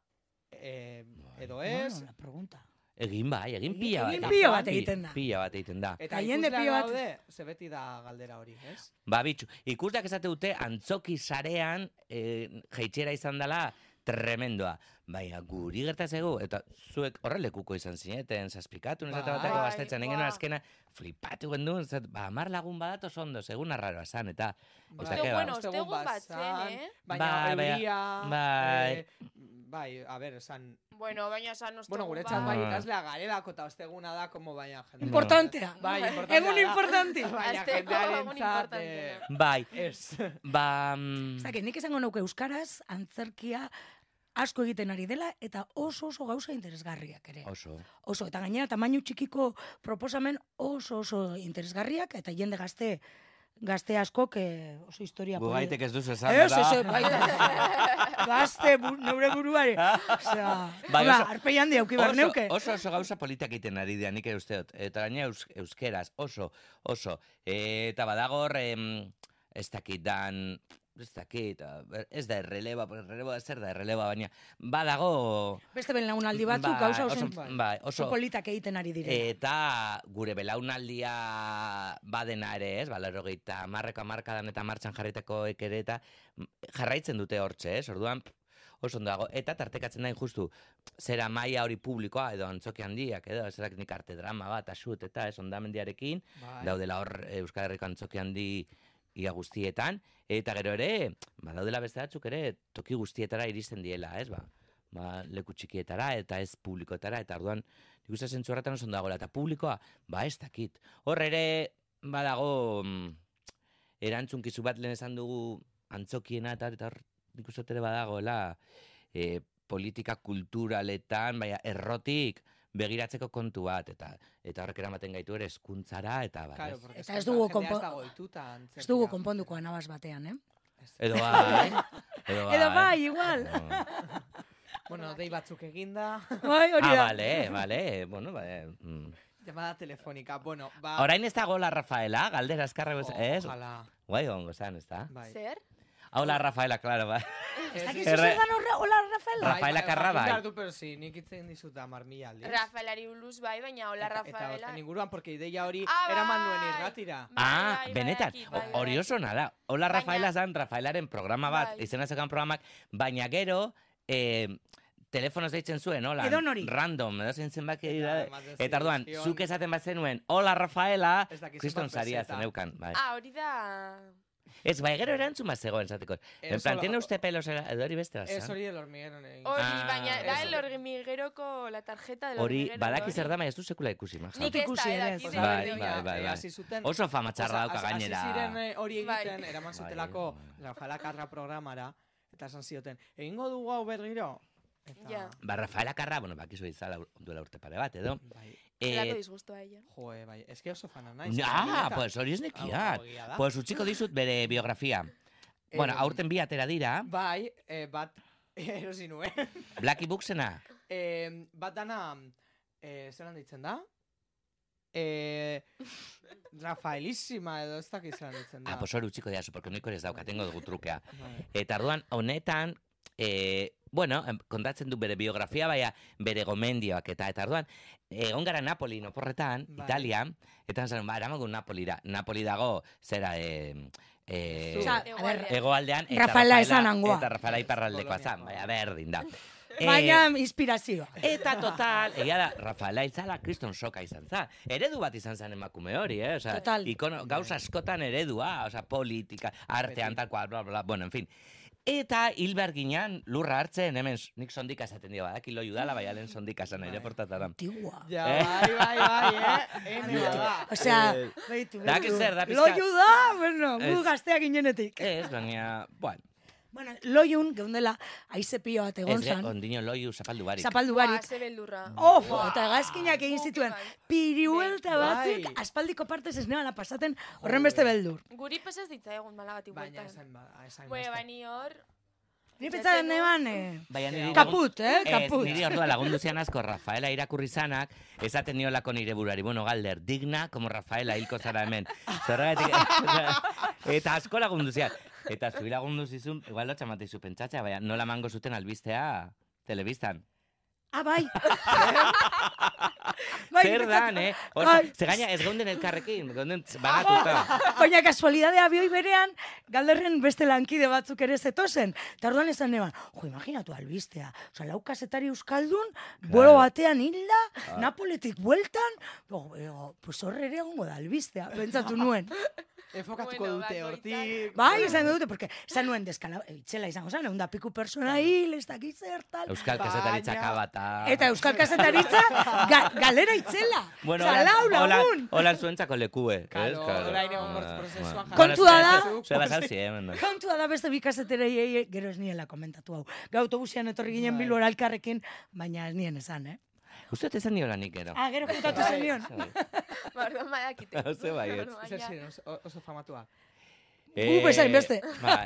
eh, edo ez,
Bueno, la pregunta.
Egin bai, egin
Egin-
pila bat.
egin
egin
pilo
bai,
bat egiten da.
Pila bat egiten da.
Eta
Eta jende
ikusleak
pilo bat-
daude, ze beti da galdera hori, ez?
Ba, bitxu, ikusleak esate dute antzoki sarean eh, jeitxera izan dela tremendoa. Baina guri gertazego, eta zuek horrelekuko izan zineten, zazpikatu, nesate
Bai.
batako gaztetxan,
Bai,
egin
ba.
azkena, flipatu genduen, zat, ba, amar lagun badato ondo, segun arraroa zan, eta
Bai.
Ostegun, Bai.
bueno,
Ostegun
ostegun bat zen,
bazan,
eh?
Baina
Bai, baina-
euria,
bai.
eh, bai, a ber, esan,
Bueno, baina esan ostegun
bueno,
bat.
guretzat
Bai.
bai ikaslea garelako eta osteguna da, como baina jende.
Importantea.
Bai, importantea
Egun
da.
importante.
Baina
Asteko Bai, egun
jendearentzat, eh,
importanteena.
bai,
ez.
ba... mm,
Ez dakit, nik esango nuke euskaraz, antzerkia asko egiten ari dela eta oso oso gauza interesgarriak ere.
Oso.
Oso, eta gainera tamainu txikiko proposamen oso oso interesgarriak eta jende gazte gazte askok eh, oso historia
Gu
polita-
gaitek ez duzu esan,
Ez, ez, ez,
bada?
bai,
(laughs)
bai. Gazte, bu, neure buruari. Osea,
Bai,
bai, oso,
oso-
arpei handi auki behar
Oso,
neuke.
oso, oso gauza politak egiten ari dira, nik uste dut. Eta gaina eus, euskeraz, oso, oso. E, eta badago hor, em, ez dakit dan, ez dakit, a ber, ez da erreleba, pues, erreleba zer da erreleba, baina badago...
Beste ben launaldi batzuk gauza oso,
oso-
bai,
oso
oso, Eh,
politak egiten ari dire.
Eta gure belaunaldia badena ere, ez, Ba, balaro gehieta marreko markadan eta martxan jarritako ekere eta mm, jarraitzen dute hortxe, ez, orduan pff, oso ondo dago. Eta tartekatzen da justu, zera maila hori publikoa edo antzoki handiak, edo, zerak nik arte drama bat, asut eta ez, ondamendiarekin,
Bai.
daudela hor eh, Euskal Herriko antzoki handi ia guztietan, eta gero ere, ba, daudela beste batzuk ere, toki guztietara iristen diela, ez, ba, ba leku txikietara eta ez publikoetara, eta orduan, nik uste zentzu horretan oso ondo dagoela, eta publikoa, ba, ez dakit. Hor ere, badago, mm, erantzunkizu bat lehen esan dugu antzokiena, eta eta hor, nik uste dut ere badagoela, eh, politika kulturaletan, baina errotik, begiratzeko kontu bat, eta eta horrek eramaten gaitu ere eskuntzara, eta bar,
Claro,
ez?
porque
Eta ez
eskotan
dugu
jendea
konpo-
ez dago ohituta
Ez dugu
antzerkira.
konponduko anabaz batean, eh?
Ez.
Edo bai. Edo bai.
Edo bai,
(laughs)
igual.
Bueno, dei batzuk eginda, (laughs)
Bai, hori
Ah,
da.
vale, vale. Bueno, vale. Mm.
llamada telefónica. Bueno, ba...
Orain ez dago la Rafaela, galdera azkarra bez, ez?
Ojalá.
Guai, ongo zan, ez da?
Bai.
Zer?
Hau la Rafaela, claro, bai.
Ez-
Eta gizu
Erre-
zer dan horre, hola, Rafael?
Bai,
Rafaela
bai,
Carrá,
jakin
bai.
behar du, pero sí, nik itzen dizut hamar mila aldiz.
Rafaelari buruz bai, baina hola
Eta- Eta
Rafaela.
horten inguruan, porque ideia hori
Ah,
eraman nuen
bai.
irratira.
Bai,
Ah,
bai,
benetan,
badakit,
o-
bai,
hori
badakit.
oso nada. Hola
Baina-
Rafaela zan, Rafaelaren programa bat,
Bai.
izena zekan programak, baina gero, eh, telefonoz deitzen zuen, hola,
Edonori.
random, edo zen zenbaki,
Bai,
Eta ematen
eta arduan,
zizkion-
zuk esaten bat zenuen, hola Rafaela,
Ez dakit
kriston
zenbat
saria
peseta.
zeneukan, bai.
Ah, hori da...
Ez, bai, gero erantzun bat zegoen, zateko.
Ez
En plan,
hola-
¿tiene usted pelos era- edo hori beste bat,
Ez
zan?
hori del hormiguero. negin.
Hori,
Ah,
baina da
ez.
el hormigueroko la tarjeta del
Hori,
hormiguero.
badaki
hori.
zer da, baina ez du sekula ikusi, maja.
Nik ez
Ikusi
da,
ere,
edaki
ez.
zer
Bai,
berdina.
bai, bai.
Eh, hasi zuten.
Oso fama txarra
Osa,
dauka
hasi-
gainera. Bai.
Hasi ziren eh, hori
Bai.
egiten, eraman zutelako Rafaela Carrá programara, eta esan zioten, egingo dugu hau berriro? Eta...
Ja.
Ba, Rafaela Carrà, bueno, bakizu izala ur- duela urte pare bat, edo.
Bai,
Zelako
Eh,
disgustoa ella.
joe, bai, eske oso fana naiz.
ah,
Benetan.
pues hori ez
Hau-
nekiat.
hau Eh. egia da.
Pues utziko dizut bere biografia. Bueno,
Em,
aurten bi atera dira,
Bai, eh, bat (laughs) erosi nuen.
Blacky Booksena.
Eh, bat dana, eh, zelan ditzen da? eh, Rafaelísima edo ez dakiz zelan ditzen da.
Ah, pues hori utziko diazu, porque niko ere ez dauka, tengo dugu trukea.
eh.
Bai.
Eta arduan, honetan, e, bueno, em, kontatzen du bere biografia, baina bere gomendioak eta eta arduan, egon gara Napoli, noporretan,
Bai.
Italian, eta zaren, ba, eramagun Napolira. Napoli dago, zera, e, e,
Zu.
Osea, a
Eguerria.
ber,
egoaldean, eta
Rafaela esan hangoa.
Eta Rafaela iparraldekoa zan, baina
Poloniakoa.
berdin da. E,
Baina inspirazioa.
Eta total, egia da, Rafaela itzala kriston soka izan za. Eredu bat izan zen emakume hori, eh? Osa,
Total.
Ikono, gauza askotan eredua, osa, politika, artean,
Beti.
tal cual, bla, bla, bueno, en fin. Eta hil behar ginen, lurra hartzen, hemen, nik sondika esaten dio, badaki lo judala, bai, alen sondika esan, ere
Bai.
portataran.
Antigua.
Ja,
Eh?
bai, bai, bai, eh? Ene bada.
O sea,
Eh,
beitu,
da,
beitu.
que zer, da pizka-
Loiu da, bueno, gu
Ez.
gaztea ginenetik.
Ez, baina, bueno,
Bueno, loiun, geundela, aize pilo bat
ez
egon
ge,
zan,
ondino loiu zapaldu barik.
zapaldu
Ba,
barik.
ze beldurra.
Oh,
Buah.
eta gazkinak egin
Guk
zituen.
bai.
Piruelta
Bai.
batzuk, aspaldiko partez ez nebala pasaten, horren beste beldur.
Guri pesaz ditza egun malagatik
Baina
bueltan.
esan bada, esan
Bue,
beste.
bani hor... (laughs)
Ni pentsatzen neban, eh,
Baina niri
kaput, eh,
Ez,
kaput.
niri ordua lagundu zian asko Rafaela irakurri zanak, esaten niolako nire burari, bueno, galder, digna, como Rafaela hilko zara hemen. Zergatik,
(laughs)
eta asko lagundu zian. Eta zui lagundu zizun, igual lotxa matizu pentsatzea, baina nola mango zuten albistea telebistan.
Ah, bai.
Zer dan, eh? Oso,
Bai.
ze gaina ez geunden elkarrekin, geunden banatuta.
Baina kasualidadea bioi berean, galderren beste lankide batzuk ere zetozen. Eta orduan esan neban, jo, imaginatu albistea. Osa, lau kasetari euskaldun, buelo batean hilda, Napoletik bueltan, jo, ego, pues horre ere egongo da albistea, bentsatu nuen.
Enfokatuko
Bueno,
dute
bakoitzak.
hortik.
Bai, izan dute, porque esan nuen deskala, itxela izango zen, egun da piku persona hil, ez dakit zer, tal.
Euskal kasetaritza
Baina-
kabata.
Eta euskal kasetaritza, ga, galera itzela.
Bueno,
Osa, lau lagun.
holan zuentzako lekue.
Claro,
ez? Claro.
orain egon
Ah,
proz- prozesuan
bueno. eh,
Kontua da-
Zuk,
Zue basal
pozik.
ziren, no?
Kontua da beste bi kazeterei ei- gero ez niela komentatu hau. Gau autobusian etorri ginen
Bai.
bilbora elkarrekin, baina ez nien esan, eh?
Uste dut esan niola nik gero.
Ah, gero kontatu
Bai.
zenion.
Ba, orduan
(laughs)
badakite.
Hauze baietz.
Orduan,
Zer
ja.
ziren, oso, oso famatuak.
Gu bezain beste.
Bai.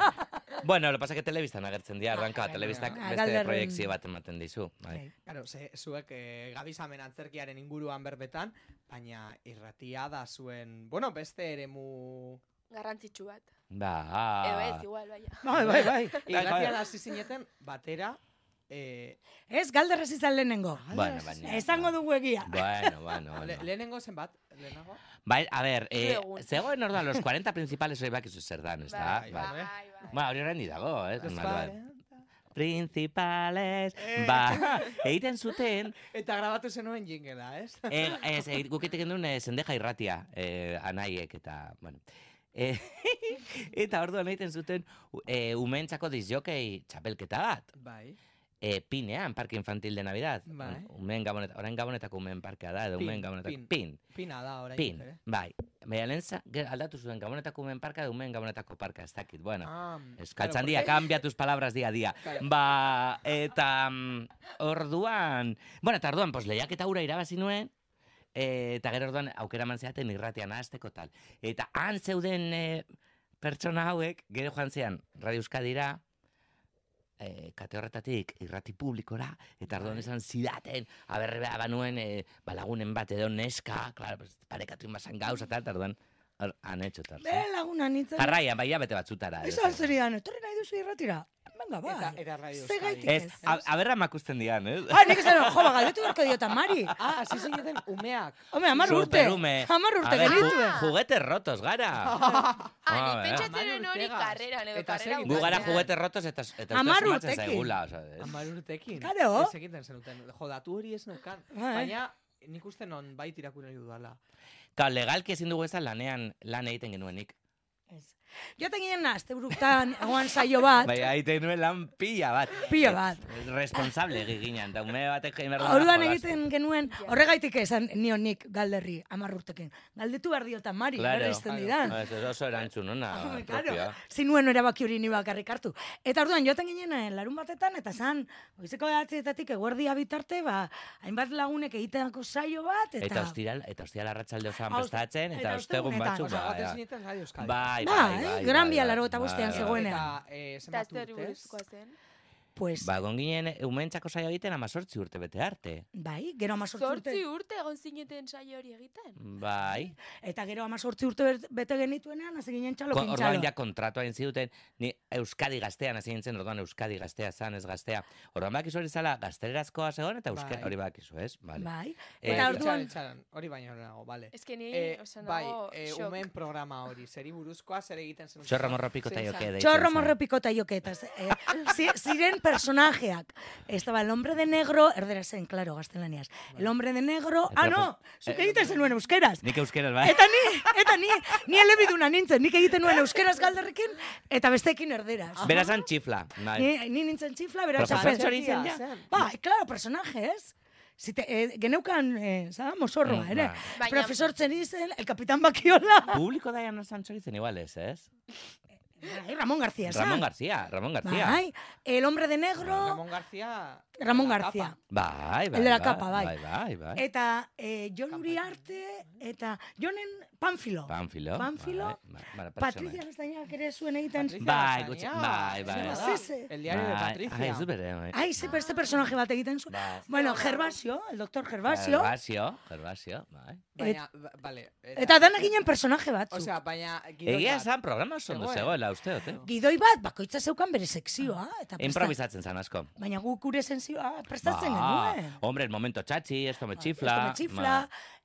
Bueno, lo pasa que telebistan agertzen dira, arranka,
Ah,
telebistak
ah,
beste
galderren.
proiektzio bat ematen dizu. Bai.
Bai.
Claro, ze, zuek eh, gabizamen antzerkiaren inguruan berbetan, baina irratia da zuen, bueno, beste eremu...
Garrantzitsu bat. Edo
Ba.
ez, igual, baina.
Bai, bai, bai.
Irratia da zineten batera, eh,
Ez galderrez izan lehenengo.
Bueno, baina.
Esango dugu egia.
Bueno, bueno,
le,
bueno.
lehenengo zenbat, lehenago?
Bai, a ver, eh,
Zuegun.
zegoen orduan los 40 principales hori bakizu zer dan, ez da?
Bai,
Bai.
bai.
Ba, hori horrendi dago, eh?
Los
normalduan.
cuarenta.
Principales,
Eh.
(laughs)
ba, egiten zuten,
Eta grabatu zenuen jingela, ez?
(laughs) Eh, ez, eh, guk egiten duen eh, zendeja irratia, eh, anaiek eta, bueno. Eh, (laughs) eta orduan egiten zuten eh, umeentzako disjokei txapelketa bat.
Bai.
Eh, pinean, Parque Infantil de Navidad.
Bai.
Umeen gabonet, orain gabonetako umeen parkea da, edo
Pin,
umeen gabonetako.
pin.
Pin,
Pina da, orain.
pin,
ere.
bai. Baina lehen za- ge- aldatu zuen gabonetako umeen parkea, edo umeen gabonetako parkea, ez dakit, bueno.
Ah,
Euskaltzan dia,
claro,
cambia tus palabras dia a dia.
Claro.
Ba, eta mm, orduan... Bueno, eta orduan, pues, lehiak eta ura irabazi nuen, eh, eta gero orduan aukera eman zeaten irratian azteko tal. Eta han zeuden eh, pertsona hauek, gero joan zean, Radio Euskadira, eh, kate horretatik irrati publikora, eta orduan esan zidaten, aberre beha banuen, eh, balagunen bat edo neska, claro, pues, parekatu inbazan gauza, tal, eta orduan, hor, han etxo, tal. eh?
Be laguna nintzen.
Jarraian, bai, jabete batzutara. edo
Esan
zer.
zeridan, etorri nahi duzu irratira. Venga, bai.
Eta, eta Radio
Ze
Euskadi.
gaitik-
Ez,
Ez.
a- aberra makusten dian, ez?
Ah, nik esan, jo, ba, galdetu beharko diota, Mari.
Ah, hasi zineten umeak.
Home, amar urte.
Superume.
Amar
A
urte
ver,
genitu.
ju- Juguete rotos
(laughs)
gara.
Ah,
Ah,
ni
bera.
pentsatzen
Amari
nuen hori
Ortegas.
karreran edo
Eta
karrera
segi-
Gu gara
bukaeran.
juguete rotos eta, eta
Hamar
uste sumatzen
urtekin.
zaigula. Osa, ez?
Hamar urtekin.
Claro.
Ez egiten zenuten. Jo, datu hori ez neukan.
Bai.
Baina, nik uste non bait irakurri dudala.
Ka, legalki ezin dugu ezan lanean lan egiten genuenik.
Joten ginen azte buruktan, egoan saio bat,
Bai, egiten genuen lan pila bat.
Ah, Pila bat.
Eh, Responsable egin ginen, eta ume batek egin behar duena
Orduan
jolastu.
egiten genuen, horregaitik esan nion nik galderri, amar urtekin. Galdetu behar diota Mari,
Claro.
berre izten
Claro.
didan.
Ah, Ez, ez oso erantzun ona.
Hombre, Ah, Claro,
propioa.
zinuen erabaki hori ni bakarrik hartu. Eta orduan joaten ginen eh, larun batetan, eta zan, goizeko behatzietatik eguerdia bitarte, ba, hainbat lagunek egiteako saio bat,
Eta
eta...
ostiral, eta ostiral arratzalde osoan
Ah,
prestatzen, eta,
eta
ostegun
ostegunetan.
batzuk.
Osa,
Ba,
gaten
bai,
zineten Radio Euskadi.
bai,
Ba, eh, Gran Via 85
bai, bai.
zegoenean.
Eta, eh,
Eta
zenbat
azte hori
urtez?
buruzkoa zen.
Pues,
Ba, egon ginen umeentzako saio egiten amazortzi urte bete arte.
bai, gero amazortzi urte.
Zortzi urte egon zineten saio hori
Mm.
egiten.
Bai.
Eta gero amazortzi urte bet- bete genituenean, hasi ginen txalo
Ko- Orduan
kintxalo.
ja kontratua egin ziduten, ni Euskadi gaztean hasi nintzen, orduan Euskadi gaztea zan, ez gaztea. Orduan bakizu hori zala, gaztelerazkoa zegoen eta euskera
Bai.
hori bakizu, ez? Vale.
Bai,
Eh,
eta
Bai,
orduan-
itxaron, itxaron, hori baino nago, bale.
Ez que ni,
Eh,
oza,
bai,
nago,
eh,
shock.
umeen programa hori, zeri buruzkoa, zer egiten zen.
Txorro morropiko
Zein
taioke
zan?
deitzen
Chorro
zen.
morro pikota joketaz. Eh, zi- ziren personajeak. Estaba el hombre de negro, erdera zen, claro, gaztelaniaz. El hombre de negro,
Eta
ah, no,
eh,
zuk egiten zenuen euskeraz.
Nik euskera, bai.
Eta ni, eta ni, ni elebiduna nintzen, nik egiten nuen euskeraz galderrekin, eta besteekin erderaz.
Ah. Beraz han txifla. Bai.
Ni, ni nintzen txifla, beraz
Profesor
txapen.
hori zen,
ja. zen.
Ba, claro, personaje, ez? Zite, eh, geneukan, eh, zara, mozorroa,
Mm,
ere.
ba.
Baina-
Profesor Txerizen, el Capitán Bakiola.
Publiko da Ana Sanchorizen igual ez, ez?
Bai, Ramon García, esan.
Ramon García, Ramon García.
Bai, el hombre de negro,
Ramon García...
Ramon
la
García.
tapa.
Bai, bai,
El de la
bai,
capa, bai.
Bai, bai, bai.
Eta eh, Jon Uriarte, eta Jonen Panfilo.
Panfilo.
Panfilo.
Bai, bai, bai,
Patricia Gaztainak ere zuen egiten.
Patricia
Bai,
Gazania,
gutxi- bai, bai.
zena da,
Sí, sí.
El diario de
Bai,
Patricia.
Ai, ez du bere, bai.
Ai, ze beste personaje bat egiten zuen.
Bai.
Bueno, Gervasio, el doctor Gervasio.
Gervasio, Gervasio, bai.
Baina, ba- bale.
Eta dana ginen personaje batzu.
Osea, baina... gidoi
Egia
bat.
esan programa oso ondo
Zegoen.
zegoela, uste dut, eh?
Gidoi bat, bakoitza zeukan bere sekzioa.
Ah,
Eta presta-
Improvisatzen zan asko.
Baina guk gure sentzioa prestatzen
Ba,
genuen.
Hombre, el momento txatxi, esto me
Esto
chifla.
me chifla.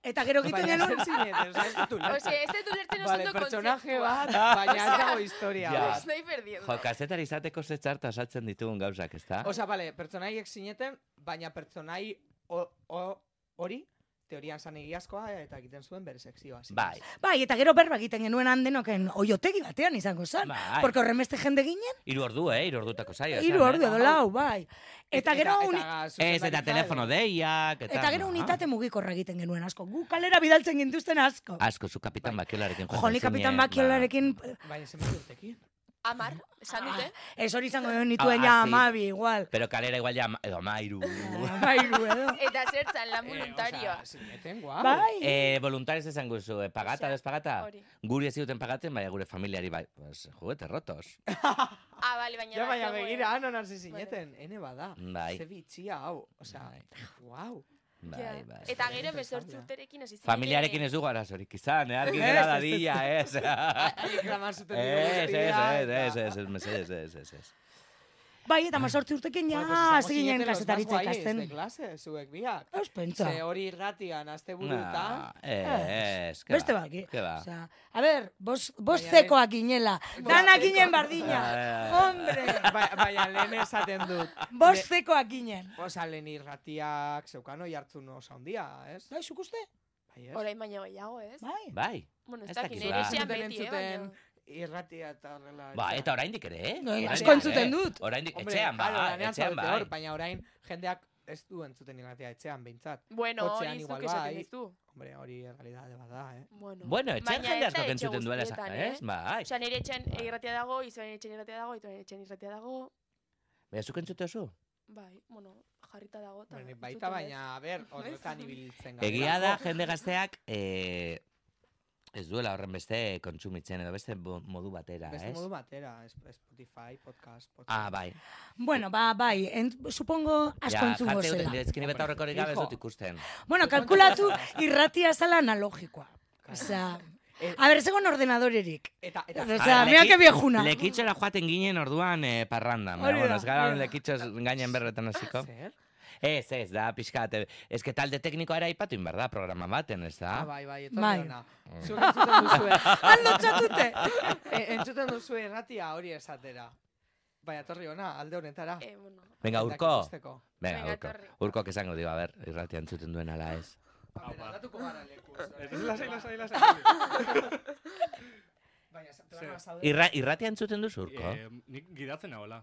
Eta gero egiten
(laughs) Baina
genuen.
zer zineten, oza, ez dut
Ose,
ulertzen.
ez dut ulertzen oso
Vale,
ondo
pertsonaje
kontzeptua. (laughs)
bat, baina ez dago historia.
Ja.
bat.
Estoy perdiendo.
Jo, kazetari izateko ze txarta osatzen ditugun gauzak, ezta?
Osea, bale, pertsonaiek zineten, baina pertsonai o- o- hori teorian zan egiazkoa eta egiten zuen bere sekzioa. zinez.
Bai,
Bai, eta gero berba egiten genuen handenoken oiotegi batean izango zen.
Bai.
Porque horren beste jende ginen,
hiru ordu, eh? Hiru ordutako saio. eh.
hiru ordu edo
Bai.
lau, bai. Eta gero
eta,
uni-
zuzendaritza
Ez, eta telefono deiak, eta...
Eta gero
Ah, Ah,
unitate mugikorra egiten genuen asko. Gu kalera bidaltzen gintuzten asko.
Asko, zu kapitan bakiolarekin. joaten
Bai. Joni
zinen,
kapitan
ba.
bakiolarekin...
Baina zenbat Bai, urtekin.
Amar, esan dute?
eh, Ez hori izango nituen
Ah,
ja
ah, sí.
amabi, igual.
Pero kalera igual ja, ama- edo amairu.
Bai. (laughs) Amairu edo.
Eta zertzan, lan
Eh,
voluntarioa.
osea, zineten, guau.
Bai,
eh, voluntarios esan guzu, eh, pagata,
Osea,
o pagata?
hori.
Guri ez zuten pagaten, baina gure familiari bai. Pues, juguete
(laughs)
rotos.
Ah, bale, baina...
Ja,
bat
baina
zegoen.
begira, anon hasi zineten, ene bada.
Bai.
Ze bitxia, hau. Osea,
Bai.
guau.
Ja.
Bai, bai.
Eta gero
Interesante.
emezortzi urterekin hasi zineten.
Familiarekin ez dugu arazorik izan, eh? Argi
Ez,
gera
ez,
dadila,
(laughs)
ez. (laughs)
Haiek klamar zuten
Ez, ez, ez,
eta-
ez, ez, ez, mesedez, ez, ez, ez.
bai, eta mazortzi urtekin ja,
Bueno, pues izango
hasi ginen
zineten los
kasetaritza
más guays
ikasten.
De klase, zuek biak.
Ez pentsa.
Ze hori irratian, azte
Na,
buruta.
Ez, ez,
Beste baki.
Ke ba.
Osea, a ber, bost, bost
Baina
zekoa ginela. Dana
zekoa.
ginen bardina.
Ah.
Hombre,
Ba- Baina lehen esaten dut.
bost zekoa ginen.
Osa, lehen irratiak zeukan oi hartzun osa handia, ez?
Bai, zuk uste?
Bai, ez?
Orain baina gehiago, ez?
Bai.
Bai,
Bueno, ez
Ez
dakit,
dakit,
nire
ba.
esean
Entzuten,
beti, eh,
entzuten,
baina...
irratia eta horrela.
ba, eta oraindik ere, eh?
Bai,
Oraindik
asko entzuten
ere.
dut.
Oraindik,
Hombre,
etxean,
claro,
ba,
lanean
etxean,
zaudete hor,
ba.
baina orain jendeak ez du entzuten irratia etxean, behintzat.
Bueno,
Kotxean
hori
igual
zuk esaten
bai.
dizu.
Hombre, hori errealidade bat da, eh?
Bueno,
Bueno, etxean
Baina
jende
ez da
asko
etxe
entzuten duela, esan,
guztietan,
ez?
eh?
Bai.
Osa, nire etxean irratia dago, izoen etxean irratia dago, itoen etxean irratia dago,
Baina, zuk entzute oso?
bai, bueno, jarrita dago. eta
Bueno,
entzuten
baita,
dut.
baina, a ber, horretan ibiltzen gara.
Egia da, jende gazteak, eh, ez duela horren beste kontsumitzen, edo beste bo- modu batera,
Beste
ez?
modu batera, es- Spotify, podcast, podcast.
Ah, bai.
Bueno, ba, bai, en, supongo asko entzungo
jartzen
zela.
dut, ezkin ibeta horrekorik gabe ez dut ikusten.
Bueno, kalkulatu irratia zala analogikoa. Osea,
Eh,
a ber, zegoen
(laughs)
ordenadorerik.
Eta, eta,
Osea,
Ah,
mira
leki-
que viejuna.
Lekitxora joaten ginen orduan eh, parrandan, baina,
Hori da,
bueno, ez gara
hori da.
lekitxos gainen berretan hasiko.
zer?
Ez, ez, da, pixkat, eh, ez que talde teknikoa era aipatu inbar da, programa baten, ez da?
Ah, bai, bai, eta
Bai.
bai. ona.
Mm.
Zuk entzuten duzue, (laughs)
Aldo txatute.
e, entzuten duzue erratia hori esatera. Bai, etorri ona, alde honetara.
Eh, bueno,
Venga,
Eta
urko.
ikusteko.
Venga,
Venga,
urko.
etorri.
Urko esango dio, a ber, irratian zuten duen ala ez.
A ber, aldatuko gara lekuz.
Lasai, lasai, lasai.
Baina, sa- planoa Bai, zaude.
Irra, irratian zuten duzu, urko?
Eh, nik gidatzen nahola.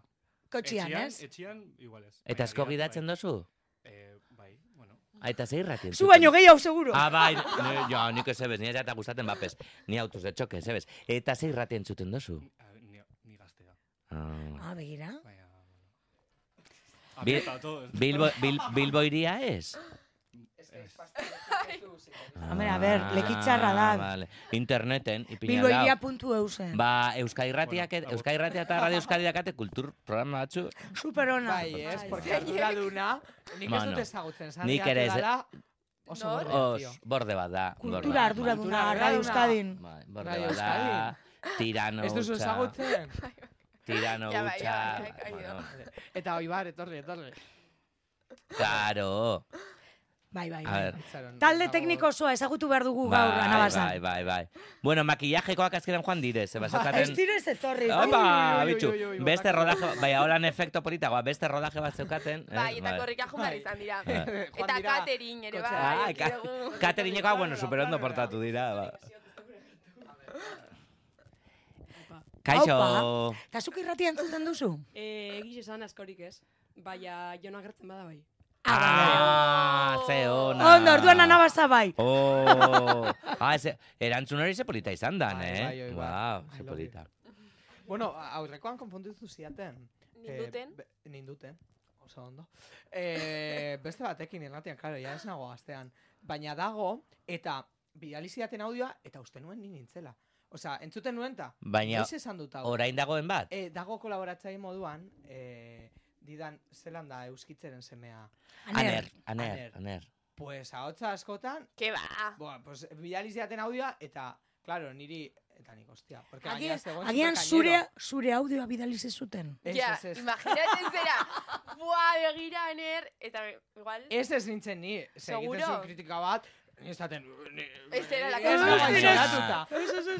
Kotxian, ez?
Etxian, igual ez.
Eta asko gidatzen dozu?
Eh, bai, bueno.
Aita ze irratian
Zu baino
gehi.
gehiago seguro.
Ah, bai, ne, jo, nik ez ebes, ni eta gustatzen bapes. Ni autoz de txoke, ez ebes. Eta ze irratian zuten dozu?
A, ni, ni gaztea.
Ah.
Ah, begira.
Baina, bueno.
Bi-
Aprieta todo.
Bilbo, bil, Bilbo iria ez?
Ez
Hombre, a ber, lekitzarra da.
Ah, Vale. Interneten, ipina
Bilbo
da.
eusen.
Ba, Euskadi Irratiak,
Bueno, agur.
Euskadi Irratia eta Radio Euskadi dakate kultur programa batzu.
Super ona.
Bai, ez,
Bai,
porque
bai.
arduraduna, nik ez
Bueno,
dut ezagutzen,
nik ere ez-
dela oso
Nor?
burdea,
Os,
tío.
borde bat da.
Kultura
borde bat.
arduraduna,
Kultura
Radio
arduraduna.
Euskadin.
Bai, Borde
Radio
bat da. Tirano
Ez duzu
hutsa.
ezagutzen?
Tirano
Ja, bai, ja,
hutsa.
ja, ja, ja.
bueno,
Eta oibar, etorri, etorri.
Claro.
Bai, bai,
A
bai.
ber.
Itxaron,
Talde
dago- (laughs)
tekniko osoa ezagutu behar dugu gaur,
Bai,
anabasan.
Bai, bai, bai. Bueno, makillajekoak azkenan joan dire, ze
Ba, Ez
basatzen...
direz etorri. bai.
Opa,
Ui, ui, ui,
bitxu,
ui, ui, ui,
beste
botako.
rodaje, bai, holan efekto politagoa, beste rodaje bat zeukaten. eh,
Bai, eta
bai.
korrika joan behar izan dira.
Bai.
Joan
Eta
dira-
Katerin ere, bai,
kotxea.
Ah,
aquí
ka-
dugu.
Katerinikoa, ah, bueno,
Plánora,
superondo
plánora.
portatu dira. Ba.
Aupa.
Kaixo,
Eta zuk irratia entzuten duzu?
E, egiz esan askorik ez, baina jona agertzen bada bai.
Ah, ze ona.
Ondo, orduan anabasa bai.
Oh, ah, ze, erantzun hori ze polita izan dan,
Bai, bai,
eh?
bai, bai.
Wow,
I
ze
love
polita.
Bueno, aurrekoan konponditu ziaten. Eh,
Ninduten,
be- ninduten, oso ondo. Eh, beste batekin irratian, claro, ja ez nago gaztean. Baina dago, eta bidali zidaten audioa, eta uste nuen ni nintzela. Osea, entzuten nuen ta,
Baina,
noiz esan dut hau.
orain dagoen bat?
Eh, dago kolaboratzaile moduan, eh, didan, zelan da euskitzeren semea.
Aner, aner,
Aner.
aner.
Pues ahotsa askotan,
que ba.
Boa, pues bidali zidaten audioa, eta, claro, niri, eta nik, hostia. Porque
Agian-
gainera zegoen
Agian
supercañero.
zure, zure audioa bidali zizuten.
Ez,
Ja,
ez, ez.
imaginatzen zera.
(laughs)
Buah, begira, ener, eta igual...
Ez ez nintzen ni, ze egiten
Seguro?
zuen kritika bat, ni esaten... ni-
Ez zela la
ni-
casa.
ni nago
Baina-
izoratuta.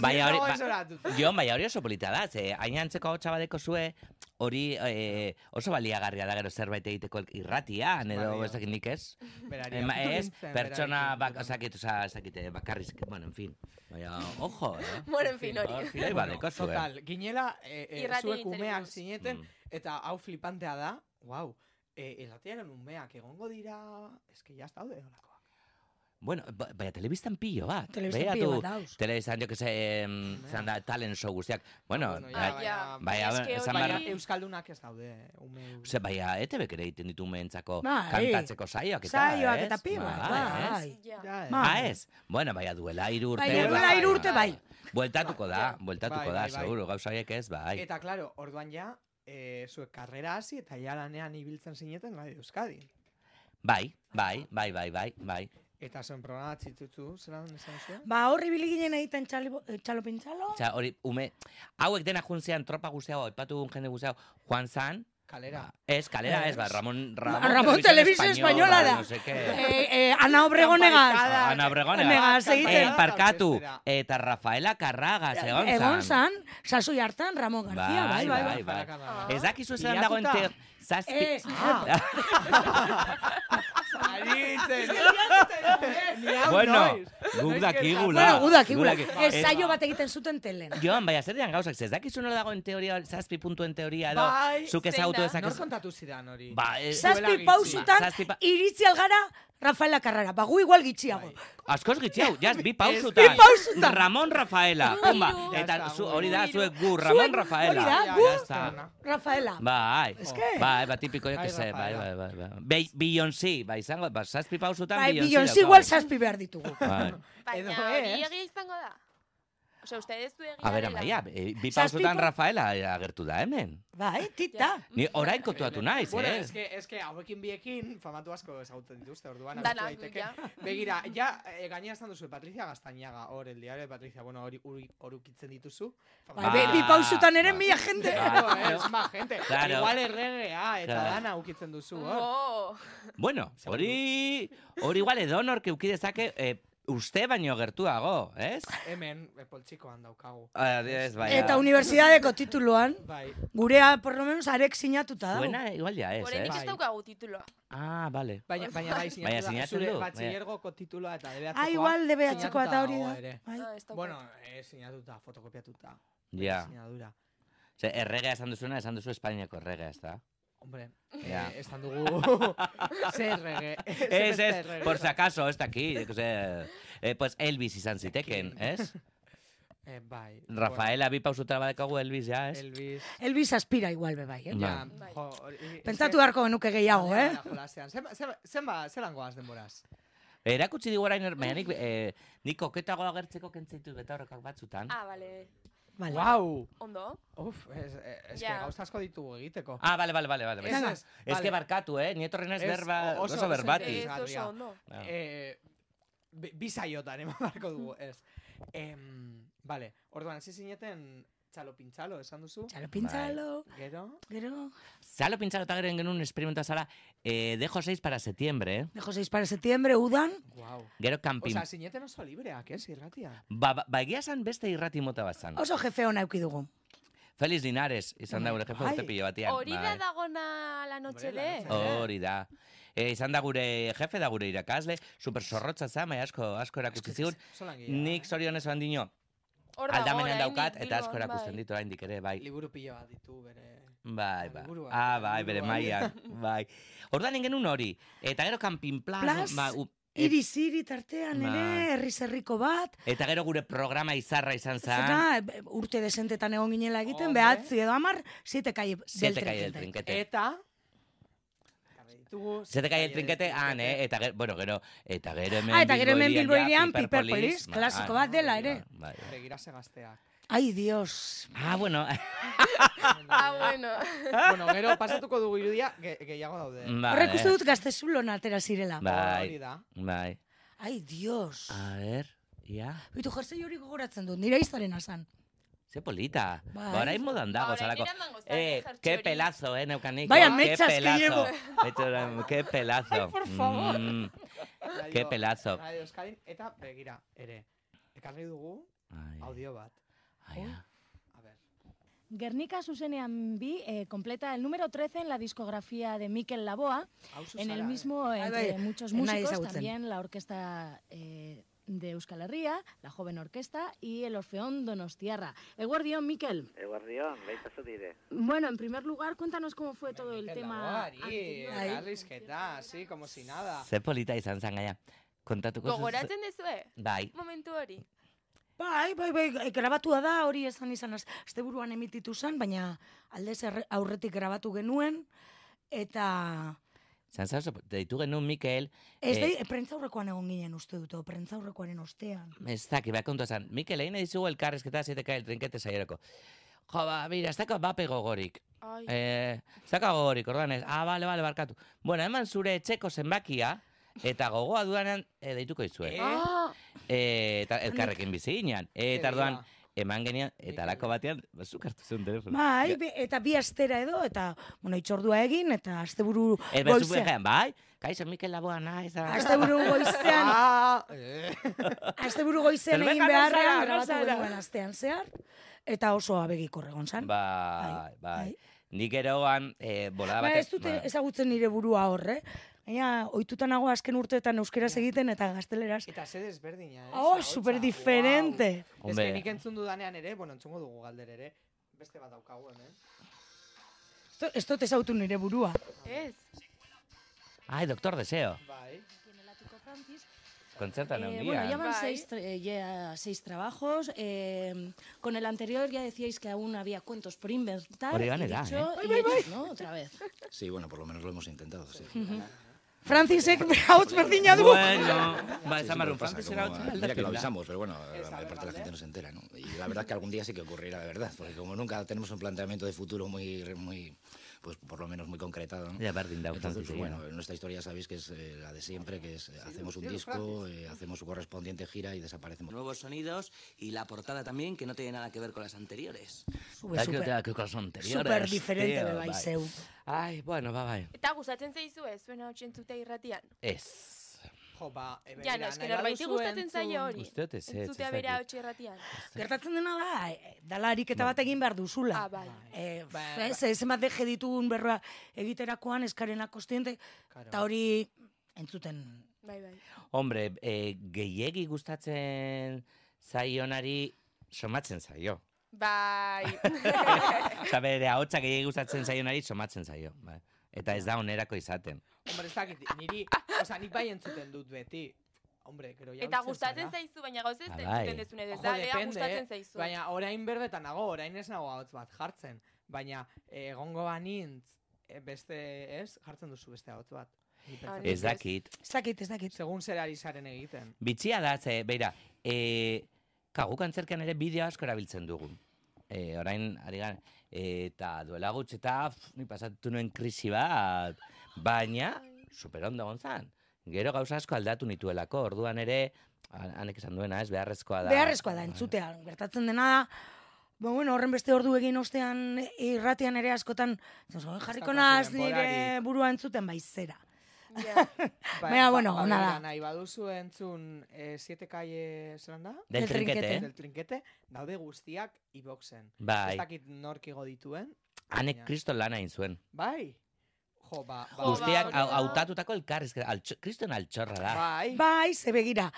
Baina
Ni
hori-
nago
ba-
izoratuta.
Jo, baina hori oso polita da, ze hain antzeko hau badeko zue, hori eh, oso baliagarria da gero zerbait egiteko el- irratian, edo
Balio.
ez dakit nik ez.
Berari
Ema,
apurtu
Eh, ez,
nintzen,
pertsona
berari
bak,
apurtu
osakit, oza, ez dakit, eh, bakarrizk, bueno, en fin. Baina, ojo,
(laughs)
eh?
Bueno, en fin, hori.
Hor, filoi badeko zue.
Total, ginela, eh, eh,
Irrati
zuek
nintzen
umeak
buruz.
zineten,
eh. Mm.
eta hau flipantea da, wow, eh, irratiaren umeak egongo dira, eski jaz daude olakoak.
Bueno, ba- baina telebistan pillo bat.
Telebistan
Beira
pilo
tu,
bat dauz.
Telebistan, jo que se, em,
Hombre.
zan da, talent show guztiak. Bueno,
Bueno,
bai,
Ah, ja.
baina,
Es que
esan
hori-
Baina
barra-
euskaldunak ez daude, ume...
Ze, baina, ETBk ere egiten ditu meentzako
Bai.
kantatzeko saioak eta,
Saioak
ez?
eta pila,
Bai, ez?
bai.
Ja.
Ja, eh.
Ma-
Ah, ez? Bueno, baina duela hiru urte.
Bai,
duela hiru
urte, bai.
Bueltatuko da,
Ja.
bueltatuko
Bai,
da,
bai, bai.
seguro, gauzaiek ez, bai.
Eta, claro, orduan ja, eh, zuek karrera hasi eta ja lanean ibiltzen zineten Radio Euskadi.
Bai, bai, bai, bai, bai, bai.
Eta zuen programa txitutzu, zelan esan zuen?
Ba, horri bili ginen egiten txalo, eh, txalo pintxalo.
Osea, hori, ume, hauek dena juntzean tropa guztiago, aipatu dugun jende guztiago, Juan San,
Kalera.
ez, kalera, ez, ba,
Ez.
Ramon,
Ba,
Ramon,
Ramon Televisión Española da.
No sé qué.
Eh, eh, Ana Obregonegaz.
Kanpaikada,
Ana Obregonegaz.
Negaz
Eh,
egiten.
parkatu, eta Rafaela Carraga, Ah, egon zan.
Egon zan, sasoi hartan, Ramon García, bai, bai, bai.
Bai, bai.
Parakadan.
Ez dakizu zelan dagoen
Bilatuta.
te... Zazpi...
Ez,
Ah. Aritzen,
(laughs)
ni hau
Bueno,
noiz.
guk
Noiz
dakigula.
bueno, gudak, igual.
Gudak-
Ez saio bat egiten zuten telen.
Joan, baina zer dian gauzak, ez dakizu nola dagoen teoria, zazpi puntuen teoria, edo,
Bai,
zuk
zein
ezautu
da?
Nor
dezakez...
kontatu zidan hori?
Ba, eh,
Zazpi
Zuela
pausutan,
gitzi. Zazpi pa-
iritzi algara Rafaela Carrara. Ba, gu igual
Bai.
gitxiago.
askoz gitzi hau, jaz, bi pausutan.
Bi pausutan.
Ramon Rafaela, pumba.
Hiru.
Eta
Ja
zu,
está,
hori da,
hiru.
zuek gu, Ramon
Zuek-
Rafaela.
hori da,
Ja,
gu.
ja está.
Rafaela.
Bai,
que-
bai, ba, tipiko, jo
Ai,
que se, bai, bai,
Rafaela.
bai, bai. Bei- Beyoncé, ba, izango, ba, zazpi pausutan
Bai,
Beyoncé.
Beyoncé
daukagu.
igual zazpi behar ditugu.
Bai.
Edo
Baina hori
ez.
egia izango da. Osea, uste ez du egia
A ber,
dela.
amaia, eh, bi
Zazpi
pausutan
pau-
Rafaela agertu da hemen.
Bai, tita.
Ni orain kontuatu naiz,
Bueno,
eh?
es que, es que hauekin biekin famatu asko ezagutzen dituzte, orduan
Dana,
agertu daiteke. (laughs)
ja.
Begira, ja, eh, gainera esan duzu, Patricia Gaztañaga, hor, el diario de Patricia, bueno, hori uri- orukitzen dituzu. eh,
Bai, be- bi
Ba,
pausutan ere
ba.
mila jende.
Claro, es más eh, ba, gente.
Claro.
Igual erregea eta
Claro.
dana ukitzen duzu, hor.
Oh,
Bueno, hori hori igual edonork euki dezake eh, uste baino gertuago, ez?
Hemen, eh, poltsikoan daukagu.
Ah, Ez, bai.
Eta unibertsitateko tituluan,
Bai,
gurea, por lo menos, arek sinatuta dago. Ah,
Buena igual ja ez,
oraindik
eh?
Bai.
ez daukagu tituloa.
Ah, vale.
baina, baina bai, sinatu
Baina
da,
sinatzen
zure
du, baina-
batxillergoko titulua eta DBHkoa.
Ah, igual de behatzekoa
sinatuta
eta hori
dago
da.
ere.
Bai.
No, ez daukagu.
Bueno, eh, sinatuta, fotokopiatuta.
Ja.
Sinadura.
Ze, erregea esan duzuna, esan duzu Espainiako erregea, ez da?
Hombre,
Ja.
eh, esan
(laughs)
dugu... Zer errege. ze
Ez,
beste
ez,
errege.
por si acaso, ez daki. Eh, pues Elvis izan ziteken,
(laughs)
ez?
Eh, bai.
Rafaela bi pausuta badekagu Elvis, ja,
Bueno,
ez?
Elvis.
Elvis aspira igual be bai, eh?
Ja,
Bai.
jo, hori-
Pentsatu
ze-
beharko genuke gehiago,
Aldea
eh?
da jolasean. Zenba, zenba, zenba, zelan goaz denboraz?
Erakutsi digu orain, er- baina nik, eh, nik koketago agertzeko kentzeitu betaurrekak batzutan. Ah,
Ah, bale.
Vale.
Wow!
Ondo?
Uf, ez, eh, ez
Ja.
que gauza asko ditugu egiteko.
bale, bale, bale, bale.
Ez,
bale.
ez,
Ez
vale.
que barkatu, eh? Nietorren ez
Ez,
berba,
o-
oso,
oso-
berbati.
Bati.
Ez oso ondo.
Ah.
Eh, bi, bi saiotan eman beharko dugu, ez. Em, vale, orduan, hasi zineten txalo pintxalo, esan duzu?
Txalo pintzalo,
Bai.
Gero?
gero...
Zalo pintzalo eta gero genuen esperimenta zala, eh, dejo 6 para septiembre, eh?
Dejo 6 para septiembre, udan,
Wow.
Gero kanpin.
Osa, zineten oso libreak, eh, ez, irratia?
Ba, ba, ba egia esan beste irrati mota bat zan.
oso jefe hona euki dugu.
Feliz Linares, izan da gure jefe
Bai.
urte pilo batian.
Hori da
bai. Oh,
dagona la noche
la
de?
noche de.
Hori da. Eh, izan da gure jefe, da gure irakasle, super sorrotza zame, asko, asko erakutsi zigun.
Zolan gila.
Nik zorionez bandino,
Hor dago
aldamenean
oraindik
daukat, eta asko
Bilbon,
erakusten
bai.
ditu oraindik ere, bai.
Liburu pilo bat ditu, bere...
Bai, bai.
Liburua,
Ah, bai,
liburua.
bere maian, bai. Ordan genuen hori. Eta gero kanpin plaz,
Plaz,
ba, u- et-
Iris iri tartean ere,
Bai.
herri herriko bat,
eta gero gure programa izarra izan zen.
zena e, urte desentetan egon ginela egiten,
Hombre.
behatzi edo amar, siete kai
Siete kai del trinkete.
Eta... Jarri Ditugu...
Siete kai del trinkete,
del
han, eh? Eta gero, bueno, gero, eta gero hemen
Ah, eta gero hemen
Bilbo hirian,
Bilbo hirian Piper Police,
Ba,
klasiko
ah,
bat dela
hori da,
ere.
bai.
Begirase
(laughs)
gazteak.
Ai, dios.
Ah, bueno,
Ah, bueno.
bueno, gero pasatuko dugu irudia, ge gehiago daude.
bai.
Horrek uste dut gaztezulon atera zirela.
Hori
Bai, Ah.
da.
bai.
Ai, dios.
A ber, ia.
Bitu jersei hori gogoratzen dut, nire izaren asan.
Ze polita.
Bai.
Ba, orain modan dago,
Ahora,
zalako.
niran dango, zara,
Eh,
jertse
qué
hori.
pelazo, eh, neukaniko.
Vaya
qué
mechas que
pelazo. (laughs)
llevo.
Eto- qué pelazo. por favor.
Radio-
qué pelazo.
Radio Euskadin, eta begira, ere. Ekarri dugu audio bat. A ver.
Guernica Susenean B eh, completa el número 13 en la discografía de Mikel Laboa,
Hau
en
zuzara,
el
eh.
mismo
Ahí va,
entre muchos
en nadie
músicos,
ezagutzen.
también la orquesta eh, de Euskal Herria, la joven orquesta y el Orfeón Donostiarra. Eguardión, Mikel.
Eguardión, baita zu dire.
Bueno, en primer lugar, cuéntanos cómo fue todo el
Mikel
tema.
Laboari,
anterior.
Bai.
elkarrizketa, sí, como si nada.
Ze polita izan zen gaina. Kontatuko zu-
Gogoratzen dezue?
Bai.
Momentu hori.
Bai, bai, bai, e, grabatua da, hori esan izan, az- asteburuan emititu zen, baina aldez erre- aurretik grabatu genuen, eta
Zan zan, deitu genuen Mikel,
ez
Eh.
dei, e, prentzaurrekoan egon ginen uste dut, o, prentzaurrekoaren ostean.
ez daki, behar kontua zan, Mikel, egin nahi dizugu elkarrezketa ziteka el trinkete saierako. Jo, ba, mira, ez daka bape gogorik.
Ai.
Eh, ez daka gogorik, orduan ez, ah, bale, bale, barkatu. Bueno, eman zure etxeko zenbakia, eta gogoa dudanean eh, deituko izue.
Eh,
Ah,
Eh, eta elkarrekin bizi ginen. Eh, eta orduan, eman genian,
Mikel.
eta alako batean, ba, zuk hartu zuen telefono.
Bai, be- eta bi astera edo, eta, bueno, itxordua egin, eta asteburu
Ez behar zuen
goizean.
gehan, bai? Kaixo, Mikel Laboa naiz. da-
Asteburu
(laughs)
goizean,
Ah, eh.
asteburu goizean
Zerbait
egin
gano zara,
beharrean,
gano
grabatu
zara.
genuen astean zehar, eta oso abegikor egon zen.
Bai, bai. Nik eroan, eh, bolada
Ba,
batean.
ez dute
ba.
ezagutzen nire burua horre. Baina, ohituta nago azken urteetan euskeraz egiten eta gazteleraz.
Eta ze desberdina, eh?
Oh,
Ahotsa,
super
guau.
diferente.
Ez
Hombre.
que nik entzun dudanean ere, bueno, entzungo dugu galder ere, beste bat daukagu hemen.
Esto- Ez dut ezautu nire burua.
Eh,
ez.
Ai, doktor deseo.
Bai.
Tiene el ático Francis.
Kontzertan
Eh,
eh,
bueno, ya van
Bye.
Bai.
seis, tra- eh, ya seis trabajos. eh, con el anterior ya decíais que aún había cuentos por inventar.
Hori
y
ganera,
dicho,
eh.
y hecho, ¿no? Otra vez.
Sí, bueno, por lo menos lo hemos intentado, sí.
Francisek hauts berdina du.
Bueno, ba,
Sí,
esan
siempre
barrun,
pasa,
Francis
como,
era
ah,
otro
Mira que lo
aldaketa.
avisamos, pero bueno,
Esa,
la mayor parte de la
¿verdad?
gente no se entera, ¿no? Y la verdad que algún día sí que ocurrirá, de verdad, porque como nunca tenemos un planteamiento de futuro muy, muy pues por lo menos muy concretado, ¿no?
Ja, berdin dau,
Entonces, pues,
Francis,
bueno,
bueno.
nuestra historia sabéis que es eh, la de siempre, que es eh, hacemos un
sí,
disco,
Francis.
eh, hacemos su correspondiente gira y desaparecemos.
Nuevos sonidos y la portada también, que no tiene nada que ver con las anteriores.
Sube, super, super diferente be bai zeu.
Ai, bueno, ba, bai.
Eta gustatzen zaizue, zuena hotxe entzutea irratian.
Ez.
Jo, ba, e,
Ja,
begira,
no, eske
nahi
norbaiti
baduzu
gustatzen zaio
entzun-
hori.
Uste dut ezetz, ez
Entzutea
dakit.
bera hotxe irratian.
Gertatzen dena da, e, dala ariketa bat egin behar duzula.
Ah, bai.
Eh,
Ba,
fe- ze zenbat deje ditugun berroa egiterakoan eskarena kostiente,
Claro.
eta hori entzuten
Bai, bai.
Hombre, eh, gehiegi gustatzen zaionari somatzen zaio. (laughs)
(laughs) Bai.
Osa, bere ahotsa gehiegi gustatzen zaionari somatzen zaio. Bai. Eta ez da onerako izaten.
Hombre, ez dakit, niri, oza, nik bai entzuten dut beti. Hombre, gero ja
Eta
utzen
gustatzen
zara.
zaizu, baina gauz ez
Ba, bai.
entzuten dezune ez
Ojo,
da, lea
depende,
gustatzen
eh?
zaizu.
Baina orain berbetan nago, orain ez nago ahots bat jartzen. Baina eh, egongo banintz, eh, beste ez, jartzen duzu beste ahots bat. Nik pentsatzen
Nik
Ez
ez.
dakit.
Ez dakit, ez
dut.
dakit.
Segun zer ari zaren egiten.
Bitxia da, ze, beira, e, kaguk antzerkian ere bideo asko erabiltzen dugu. E, orain, ari gara, eta duela gutxi eta pf, ni pasatu nuen krisi bat, baina superondo egon zan. Gero gauza asko aldatu nituelako, orduan ere, han- hanek esan duena, ez beharrezkoa da.
Beharrezkoa da, entzutea. Gertatzen dena da, ba, bueno, horren beste ordu egin ostean irratian ere askotan, zan, "Jo, jarriko
daukazu
naz nire
denborarik."
burua entzuten bai zera.
Ja.
Baina, bueno, ona
begira,
da.
Ba, Nahi baduzu entzun eh, siete kalle zelan da?
Del
Del trinquete.
trinquete, eh?
Del trinquete, daude guztiak iboxen. Ez
Bai,
dakit norkigo dituen.
hanek
baina-
kriston lana egin zuen.
Bai. Jo, ba, ba,
Jo, ba,
Guztiak
hori
hau-
da.
hautatutako elkarrizketa, altxo- kriston altxorra da.
Bai.
Bai, ze begira,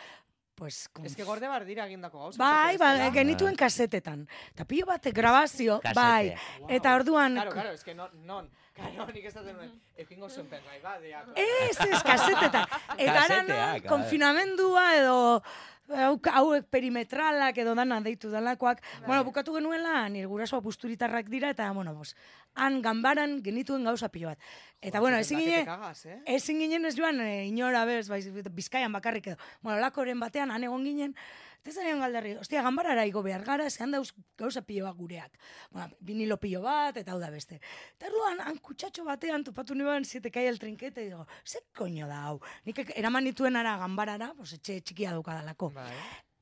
pues... kon-
Ez que gorde bar dira egindako gauzak.
Bai,
beti
ba,
bezala.
genituen kasetetan. Eta pilo bat grabazio,
Kasete.
bai.
Guau.
Eta orduan...
Claro, claro, es que non, non, claro, (laughs) nik ez daten nuen, eukingo zuen pengai bat, dira.
Ez, ez, kasetetan. Eta ara non,
Kaseteak, a
konfinamendua edo hau- hauek perimetralak edo dana deitu dalakoak. Bueno, bukatu genuela, nire gurasoa pusturitarrak dira, eta, bueno, pues, han ganbaran genituen gauza pilo bat. Eta, bueno, ezin
gine...
ginen,
eh.
Eh, ezin ginen ez joan e, inora bez, bai, bizkaian bakarrik edo. Bueno, lakoren batean, han egon ginen, eta zaren galderri, ostia, ganbarara igo behar gara, zehan dauz gauza piloak gureak. Bueno, vinilo pilo bat, eta hau da beste. Eta orduan, han kutsatxo batean topatu nioan siete kai el trinquete, digo, ze koño da hau? Nik ek- eraman nituen ara ganbarara, pues, etxe txikia daukadalako.
Bai.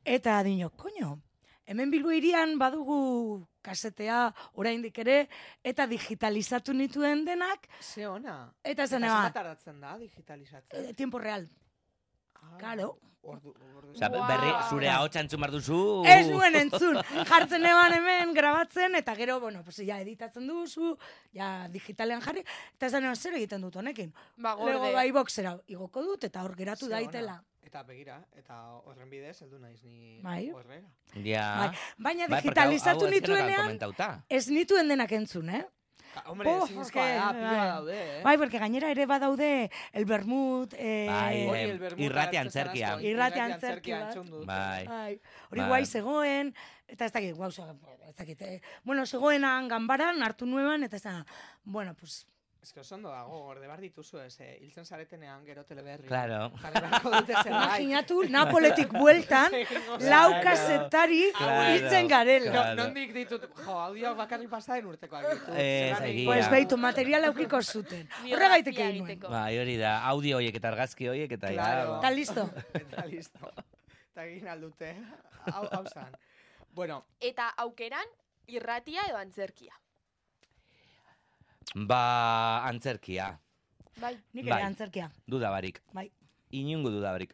Eta dino, koño, hemen Bilbo irian badugu kasetea oraindik ere, eta digitalizatu nituen denak,
Ze ona.
eta zen
Eta
eba,
zenbat tardatzen da, digitalizatzen.
eh, tiempo real.
Ah,
claro.
Ordu, ordu.
Osa,
Guau.
berri, zure ahotsa entzun behar duzu.
Ba, Ez nuen entzun, jartzen eban hemen grabatzen, eta gero, bueno, pues, ja editatzen duzu, ja digitalean jarri, eta zen eban zer egiten dut honekin.
(laughs)
Ba,
Lego
gorde.
bai boxera igoko dut, eta hor
Ze
geratu
ona.
daitela.
Eta begira, eta horren bidez, heldu naiz ni
Bai.
horrera.
Ja.
Bai, baina
Bai, porque hau-
digitalizatu
hau azkenekoan
nituenean,
komentauta.
ez nituen denak entzun, eh?
Ka- Hombre,
Oh,
ezin eskoa da,
bai,
pila
bai.
daude, eh?
Bai, porque gainera ere badaude el bermud, eh,
Bai,
Hori,
eh,
el bermuda
irrati
hartzen
antzerkia.
zarazko,
Irrati antzerki bat.
entzun dut.
Bai.
Bai, hori
Bai.
guai zegoen, eta ez dakit, guau, ze- ez dakit. eh, Bueno, zegoen han ganbaran, hartu nueban, eta ez da, bueno, pues,
Ez que oso ondo dago, gorde behar dituzu ez, eh? hiltzen zaretenean gero teleberri.
Claro.
Jarri beharko
(laughs)
dute
Bai.
zerbait.
imaginatu, Napoletik
(laughs)
bueltan,
(laughs) Egingo zen.
lau kazetari
Claro.
hiltzen garela.
No,
Claro.
nondik ditut, jo, audio bakarrik pasaren urtekoak ditut.
Ez,
zergatik-
egia.
Pues beitu, material aukiko zuten.
Biografia
Horregaitik egin nuen.
egiteko.
Bai, hori da, audio hoiek eta argazki hoiek eta ja,
Claro.
Eta listo.
(laughs) Eta listo. Eta egin aldute. Hau, hau zan. Bueno,
Eta aukeran, irratia edo antzerkia.
ba, antzerkia,
Bai,
Nik ere
Bai.
antzerkia.
duda barik.
Bai.
Inungo duda barik.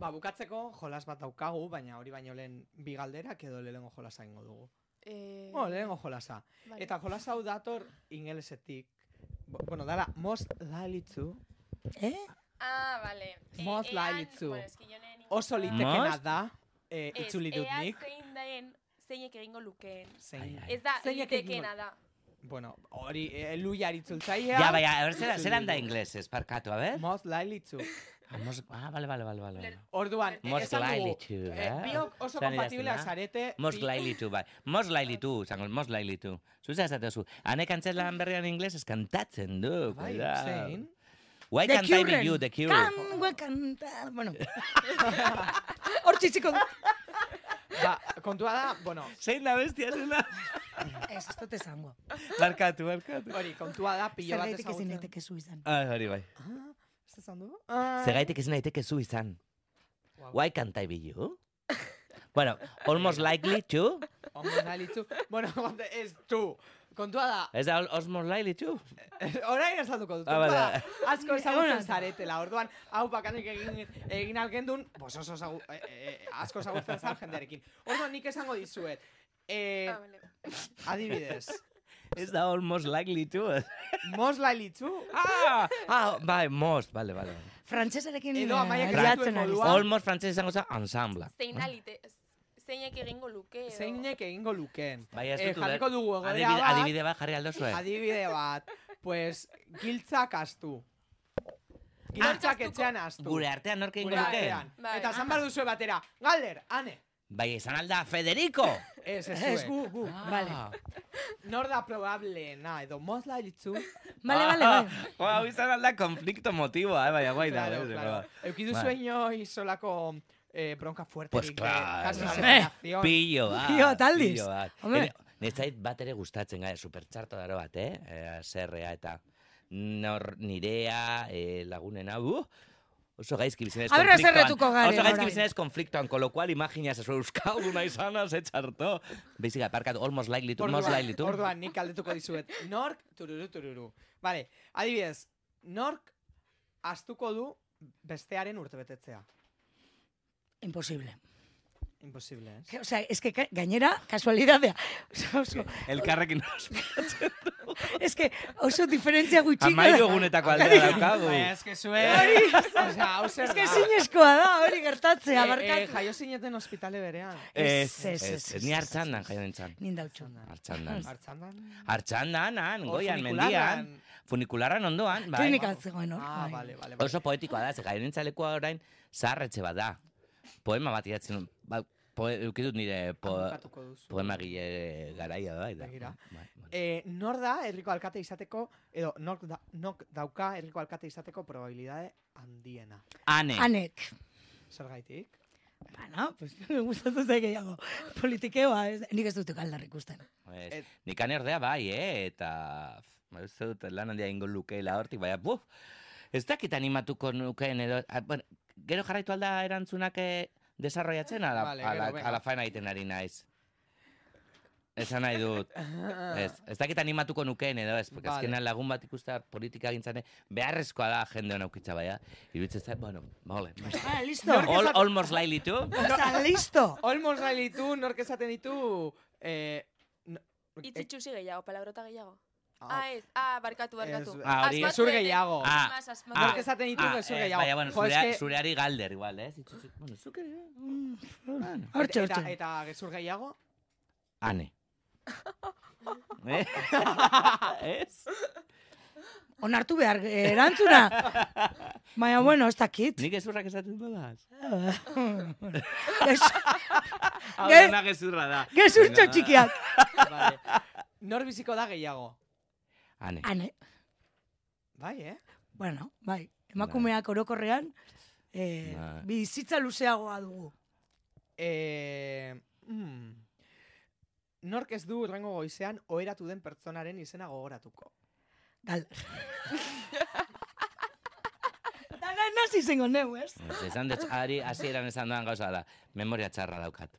ba, bukatzeko jolas bat daukagu, baina hori baino lehen bi galderak edo lehengo jolasa ingo dugu.
eh,
Oh, lehengo jolasa.
vale.
Eta jolas hau dator ingelesetik. Bo- Bueno, dala, most likely to.
Eh?
Ah, vale. Eh,
Most
ean-
likely to.
Bueno, es que yo neen-
Oso litekena
Most?
da, eh,
Ez,
itzuli dut
ea
nik.
zein den, zeinek egingo lukeen.
Zein.
Ai, ai.
Ez da,
Zeinek egingo-
litekena da.
Bueno, hori, eh, luiar itzultzaia.
Ja, bai, a ber, zera,
Itzuli
zeran da
dut.
inglesez, parkatu, a ber?
Most likely to.
Vamos, ah, bale, bale, bale, bale.
Orduan,
Most
esan dugu,
likely to, eh?
biok oso
Zan idazten
kompatibleak
da.
zarete.
Most
bi-
likely to, bai. Most likely to, zango, most likely to. Zuza ez datezu. Hanek antzerlan berrian inglesez kantatzen du.
Bai,
cuidao.
zein.
Why
The
can't I be
Curren.
you, the cure?
Kan, guen kantar, bueno. (laughs) Hor txitsiko dut.
Ba, kontua da, bueno,
Zein da bestia, zein da?
Ez, ez dut esango.
Barkatu, barkatu.
hori, kontua da, pilo bat
Zergaitik ezin
ezagutzen.
daiteke zu izan.
Ah, hori bai.
Ah, ez esan du? Ah,
Zegaitik ez naiteke zu izan. Why can't I be you? bueno, almost likely to.
Ondo nalitzu. Bueno, (laughs) konta- ez tu. Kontua da,
Ez da al- almost likely to?
orain azalduko dut.
Ah,
Kontua
bale.
da, asko ezagutzen zaretela. Orduan, hau bakanik egin, egin algendun, pues oso ezagu- eh, eh, asko ezagutzen zan jendearekin. Orduan, nik esango dizuet. Eh,
Ah, vale.
adibidez,
Ez da almost likely to.
most likely to,
ah, ah, bai, most, bale, bale. bale.
Frantzesarekin
Edo Amaia
eh,
Kratuen
liatzen ari
moduan.
zara.
Almost frantzese izango za ensemble.
Zein da lite, zeinek egingo luke. edo-
Ah. zeinek egingo lukeen.
Bai, ez
Eh,
dut uler.
jarriko dugu egoera
Adibide,
bat.
adibide bat jarri aldo zuen.
Adibide bat. Pues, giltzak astu. Giltzak
Ah.
etxean astu.
Gure artean norke ingo
Gure
luke?
artean.
Bai.
Eta zan bar duzue batera. Galder, ane.
Bai, izan alda Federico!
Ez, ez,
Ez,
zuek.
gu, gu. Vale,
Ah.
Nor da probableena, edo moz lailitzu.
vale, vale. vale.
Ah, Hau izan alda konflikto motiboa, eh, baina guai da.
Claro,
eh,
claro. Eukidu
Vale.
sueño y solako eh, bronka fuerte.
Pues claro.
Casi
Eh, (laughs)
separación.
Pillo bat.
Pillo bat aldiz.
pillo bat.
Hombre.
Ene- Netzait bat ere gustatzen gara, supertxarto daro bat, eh? eh serrea eta nor nirea, eh, lagunena, uh! Oso gaizki bizinez
A ber, haserretuko garen
Oso gaizki
orain.
bizinez konfliktoan, con lo cual imagina zezu euskalduna izana, ze txarto. Beizik, aparkatu, almost likely to, most likely to.
orduan nik galdetuko dizuet. Nork, tururu, tururu. Vale, adibidez, nork astuko du bestearen urtebetetzea.
Imposible.
Imposible, ez?
O sea, es que ka- gainera, kasualidadea. Oso, oso,
Elkarrekin ospatzen.
es que oso diferentzia gutxiko.
Amairu egunetako aldea daukagu.
Baina, Bai, Ez que zuen...
Bai.
Osea, hau zer
Es que
da?
zinezkoa da, hori
Eh,
gertatzea,
eh,
barkatu.
jaio zineten ospitale berean.
Ez,
Ez, ez, ez,
Ni
ez,
hartzandan jaio nintzen.
Nindautxo.
Hartzandan.
Artzandan?
Hartzandan, han,
O
goian,
funikularran.
mendian. Funikularran ondoan, bai.
Klinika zegoen hor.
Ah,
bai.
vale, vale. vale.
Oso poetikoa da, ze gaire nintzalekoa orain, zaharretxe bat da. Poema bat idatzen, ba, poe, eukidut nire po,
Abokatuko duzu.
poema gile garaia da, bai da.
Begira.
Bai, bai.
Eh, nor da herriko alkate izateko, edo nork, da, nork dauka herriko alkate izateko probabilidade handiena.
Ane,
Anek.
Zergaitik?
Bueno, pues (laughs) me gustatzen zaik gehiago. Politikeoa, ez, nik ez dut galdar ikusten.
Ez,
Et-
nik ane ordea bai, eh, eta f, ba, uste dut lan handia ingo lukeela hortik, baina, buf, ez dakit animatuko nukeen edo, a, bueno, gero jarraitu alda erantzunak eh, desarrollatzen, ala,
Vale, gero,
ala,
venga.
ala faena egiten ari naiz. Esan nahi dut. (laughs) Ez, ez dakit animatuko nukeen edo ez, porque
Ah. Vale.
azkenean lagun bat ikustea politika gintzane, beharrezkoa da jende hona ukitza baina, iruditzen zait, bueno, vale.
Ah, listo.
All, almost likely to.
(laughs)
Osa, listo.
Olmos ditu, nork esaten ditu... Eh, no-
Itz
eh,
itxusi gehiago, palabrota gehiago.
ah,
Ah, ez. Ah, barkatu, barkatu.
Ez,
Ah, hori,
Asmatu
gezur
ere.
gehiago.
Ah,
Mas, asmatu
ah,
Nork
ere.
esaten ditu
Ah,
gezur
ez,
gehiago.
baina, bueno,
Jo, es
zurea,
que-
zureari galder, igual, ez? Itxutxu- Bueno, zuk ere, mm, bueno.
Hortxe,
eta,
hortxe.
eta gezur
(laughs)
gehiago? (laughs)
Ane. Eh? ez?
Onartu behar eh, erantzuna. Baina, bueno, ez dakit.
Nik gezurrak esaten badaz.
Ez,
Hau
Eh!
Ge-
dena gezurra da.
gezurtxo
Venga.
txikiak.
vale. Nor biziko da gehiago?
Ane.
Ane,
Bai, eh?
bueno, bai. Emakumeak orokorrean, eh,
Bai.
bizitza luzeagoa dugu.
Eh, mm, nork ez du urrengo goizean oheratu den pertsonaren izena gogoratuko.
Gal. Dana nazi zengo neu, ez?
Ez, Esan dut, ari, hasieran esan duan gauza da. Memoria txarra daukat.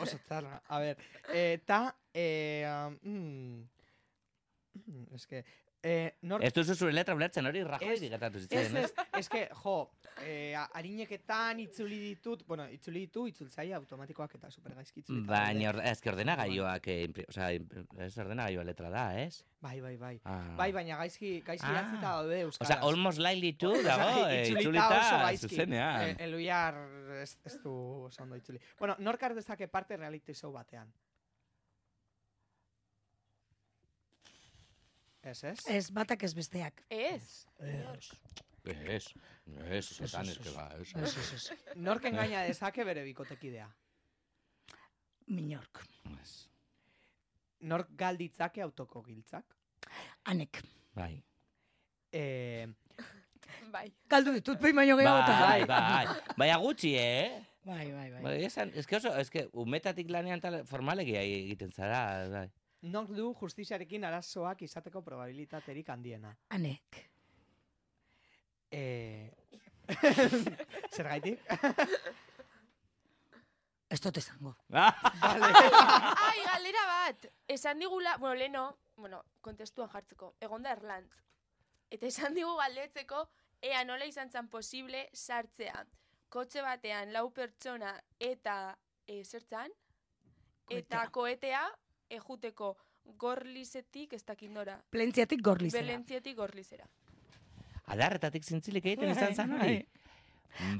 Oso txarra. A ber, eta... Eh, um, mm, mm, eske... Eh, nork...
Ez duzu zure letra ulertzen hori Rajoy
Ez,
gertatu
Ez,
zitzaion, ez?
ez, eske, jo, eh, a- harineketan itzuli ditut, bueno, itzuli ditu, itzultzaile automatikoak eta supergaizki itzuli.
Baina, or- ez que ordenagaioak, eh, impri- o sea, impri- ez ordenagaioa letra da, ez?
Bai, bai, bai.
Ah.
Bai, baina gaizki, gaizki
Ah.
idatzita daude
O
euskaraz.
sea,
(laughs)
almost likely to dago,
Osea,
eh,
itzulita oso
itzulita
gaizki.
zuzenean.
Eh, Eluiar ez, ez du oso ondo itzuli. Bueno, nork har dezake parte reality show batean? Ez, ez?
Ez, batak ez besteak.
Ez.
eh.
Ez, ez, ez, ez, que ba, ez.
Ez, ez, ez.
Nork engaina dezake bere bikotekidea?
Minork.
Ez.
Nork galditzake autoko giltzak?
Anek.
Bai.
Eh,
Bai.
Galdu ditut behin baino gehiagotan.
Bai, bai. Baina gutxi, eh?
Bai, bai, bai.
Bai, esan, ez que oso, ez que umetatik lanean tal formalegia egiten zara, bai.
nork du justiziarekin arazoak izateko probabilitaterik handiena?
Anek.
Eh, (laughs) Zergaitik?
Ez dut esango.
Ah.
Ai, galdera bat. Esan digula, bueno, leno, bueno, kontestuan jartzeko, egonda Erlantz. Eta esan digu galdetzeko, ea nola izan zen posible sartzea. Kotxe batean, lau pertsona eta e, zertzan, eta
Koetea.
koetea ejuteko gorlizetik ez dakit nora.
Plentziatik gorlizera.
Belentziatik gorlizera.
Bai. Adarretatik zintzilik egiten izan zan hori.
Bai.
Ba-
bai.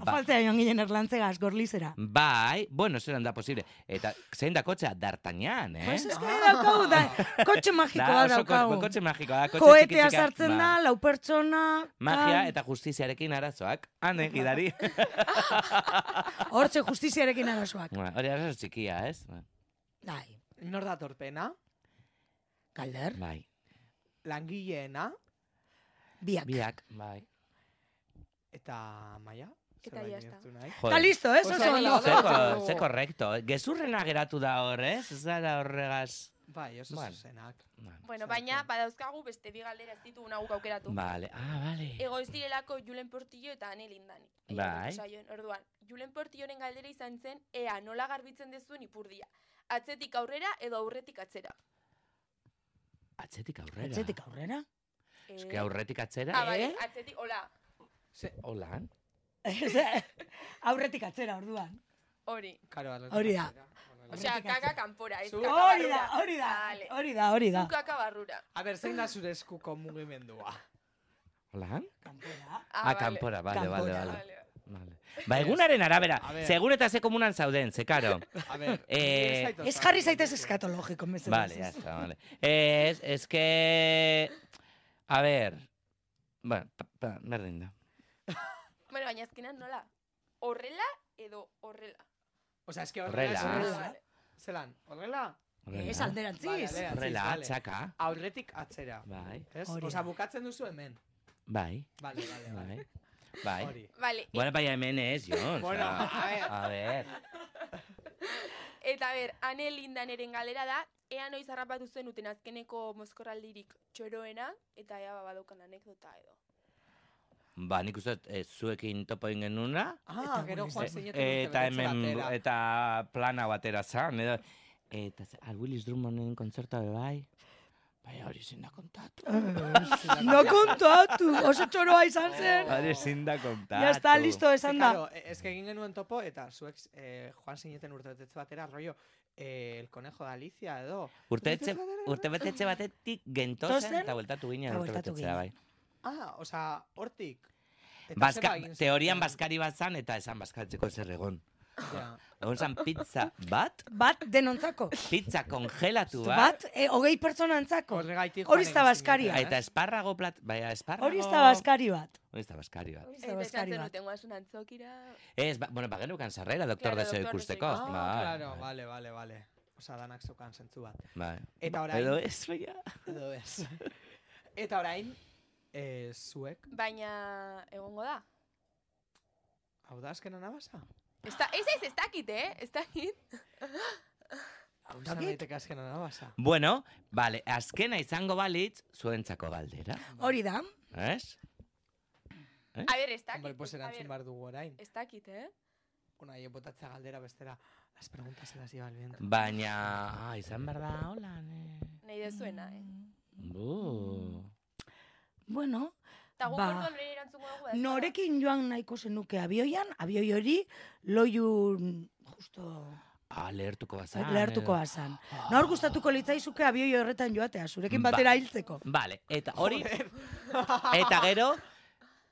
Afaltzea joan ginen erlantzegaz, gorlizera.
bai, bueno, zelan da posible. Eta zein da kotxea, d'artañan, eh?
Pues eske daukagu, da,
(laughs)
kotxe magikoa
oso ko-
daukagu.
Kotxe magikoa, da, kotxe
Koetea
txiki-txika,
sartzen
ba.
da, Ah. lau pertsona...
Magia
kan.
eta justiziarekin arazoak.
Ah.
Hane,
(laughs)
gidari.
Hortxe justiziarekin
(laughs)
arazoak.
Ba, Hori arazo txikia, ez? Ba,
Bai,
Nor da torpena,
galder,
Bai,
langileena
biak.
biak, bai.
eta maia.
Eta
zerbait
ya está. ¿eh?
bihurtu nahi.
Eta listo, ez? Oso
Oso
ondo.
Ze,
ondo.
ze korrekto. Gezurrena geratu da hor, ez? Ez da horregaz.
Bai, oso
Bueno.
zuzenak.
Bueno, baina badauzkagu beste bi galdera ez dituguna guk aukeratu.
Bai.
Vale, ah, vale.
Ego ez direlako Julen Portillo eta Ane Lindani.
Bai.
Saioen, orduan, Julen Portilloren galdera izan zen, ea nola garbitzen dezuen ipurdia. Atzetik aurrera edo aurretik atzera.
Atzetik aurrera.
Etxetik aurrera. (laughs)
Eske
Eh,
aurretik atzera.
Ah, bai, atzetik, hola,
Ze,
Hola.
Aurretik atzera, orduan.
hori.
karo, algo
Hori da.
atzera. Horrela.
Osea,
Aurretik
kaka
atzera.
kanpora, ez kaka
Hori da,
barrura.
hori da,
Vale.
hori da, hori da.
Zu kaka barrura.
A ber, zein da zure eskuko mugimendua?
Hola.
Kanpora.
Ah,
vale.
kanpora, vale, vale,
Kanpora.
vale.
Vale, vale.
Vale. Ba, egunaren arabera,
A ver.
segun eta ze komunan zauden, ze karo.
A ber,
Eh,
ez zaitut
Ez jarri
sartu.
zaitez eskatologiko, mesedez.
Vale, ya está, vale. Eh, Es, es que... A ver... Bueno, pa, pa, berdin da.
Bueno, baina azkenan nola? Horrela edo horrela.
Osea, eske
Horrela.
horrela.
Ah,
Horrela.
vale.
Zelan, horrela?
Horrela.
Ez alderantziz.
Vale,
Horrela,
vale.
txaka.
Aurretik atzera.
Bai,
Ez?
Hori
Osea,
da.
bukatzen duzu hemen.
bai,
Vale, vale, Eh, vale.
bai. Bai.
Hori.
Vale, e-
Bueno, baina hemen ez, Jon.
Bueno,
osea,
a ver.
a ver.
eta ber, Ane Lindaneren galera da, ea noiz harrapatu zen uten azkeneko mozkorraldirik txoroena, eta ea badaukan anekdota edo.
Ba, nik uste dut, eh, zuekin topo egin genuna.
Ah, gero
gure
joan
izan.
zineten
Eta
urtebetetze
hemen,
batera.
eta plana batera zan, edo. Eta, ze- Eh, al Willis Drummonden kontzertua be bai. Bai, hori ezin da
(laughs)
kontatu.
No kontatu, oso txoroa izan zen.
Hori ezin da kontatu.
Ya está, listo,
Eske,
esan da.
Claro, e- eske egin genuen topo, eta zuek eh, joan zineten urtebetetze batera, rollo, eh, el conejo de Alicia, edo.
Urteetxe, urtebetetxe batetik gentozen
Tozen,
eta bueltatu ginen
eta bueltatu
urtebetetzea, bai.
Ah, osea, hortik. Eta
Baska,
zeba egin zenuten?
teorian bazkari bat zan eta esan bazkatzeko zer egon.
Ja.
Egon zan pizza bat,
Bat denontzako.
pizza kongelatu bat,
Bat, eh, hogei pertsonantzako.
Horregaitik
Hori
joan
ez da
egin
bazkaria.
zineten,
eta
ez?
esparrago plat... Baina, esparrago...
Hori ez da bazkari bat.
Hori ez da bazkari bat.
Hori ez da
Eta esan
bazkari
zen
bat.
duten guazun antzokira...
Ez, ba, bueno, bagenukan sarrera, doktor
Claro,
claro, deseo
Dr. Deseo
ikusteko.
Ah,
ikusteko.
bai,
claro,
bai,
vale, vale, vale. Osa, danak zeukan zentzu bat.
bai.
Eta orain,
Edo ez, baina...
edo ez. Eta orain, eh, zuek,
Baina, egongo da.
hau da azkena nabasa?
Ez, da, ez, ez, ez dakit, eh? Ez dakit.
Hau
dakit.
izan daiteke azkena nabasa.
Bueno, vale, azkena izango balitz, zuentzako galdera.
Hori da.
Ez?
A ber, ez dakit.
Ba, Hombre, pues
a
erantzun
ber,
behar dugu orain.
Ez dakit, eh?
Una, jo botatzea galdera bestera. Las preguntas se las lleva el viento.
Baina, ah, izan behar da, hola, ne...
Nahi dezuena,
Mm.
eh?
Bu.
Bueno,
Eta guk
Ba.
orduan nire erantzungo dugu. da, ez bada.
norekin joan nahiko zenuke abioian, abioi hori loiun justo
Ah, lehertuko bazan.
lehertuko
edo.
bazan. Nor gustatuko litzaizuke abioi horretan joatea, zurekin
Ba.
batera hiltzeko.
Vale, eta hori...
(laughs)
eta gero,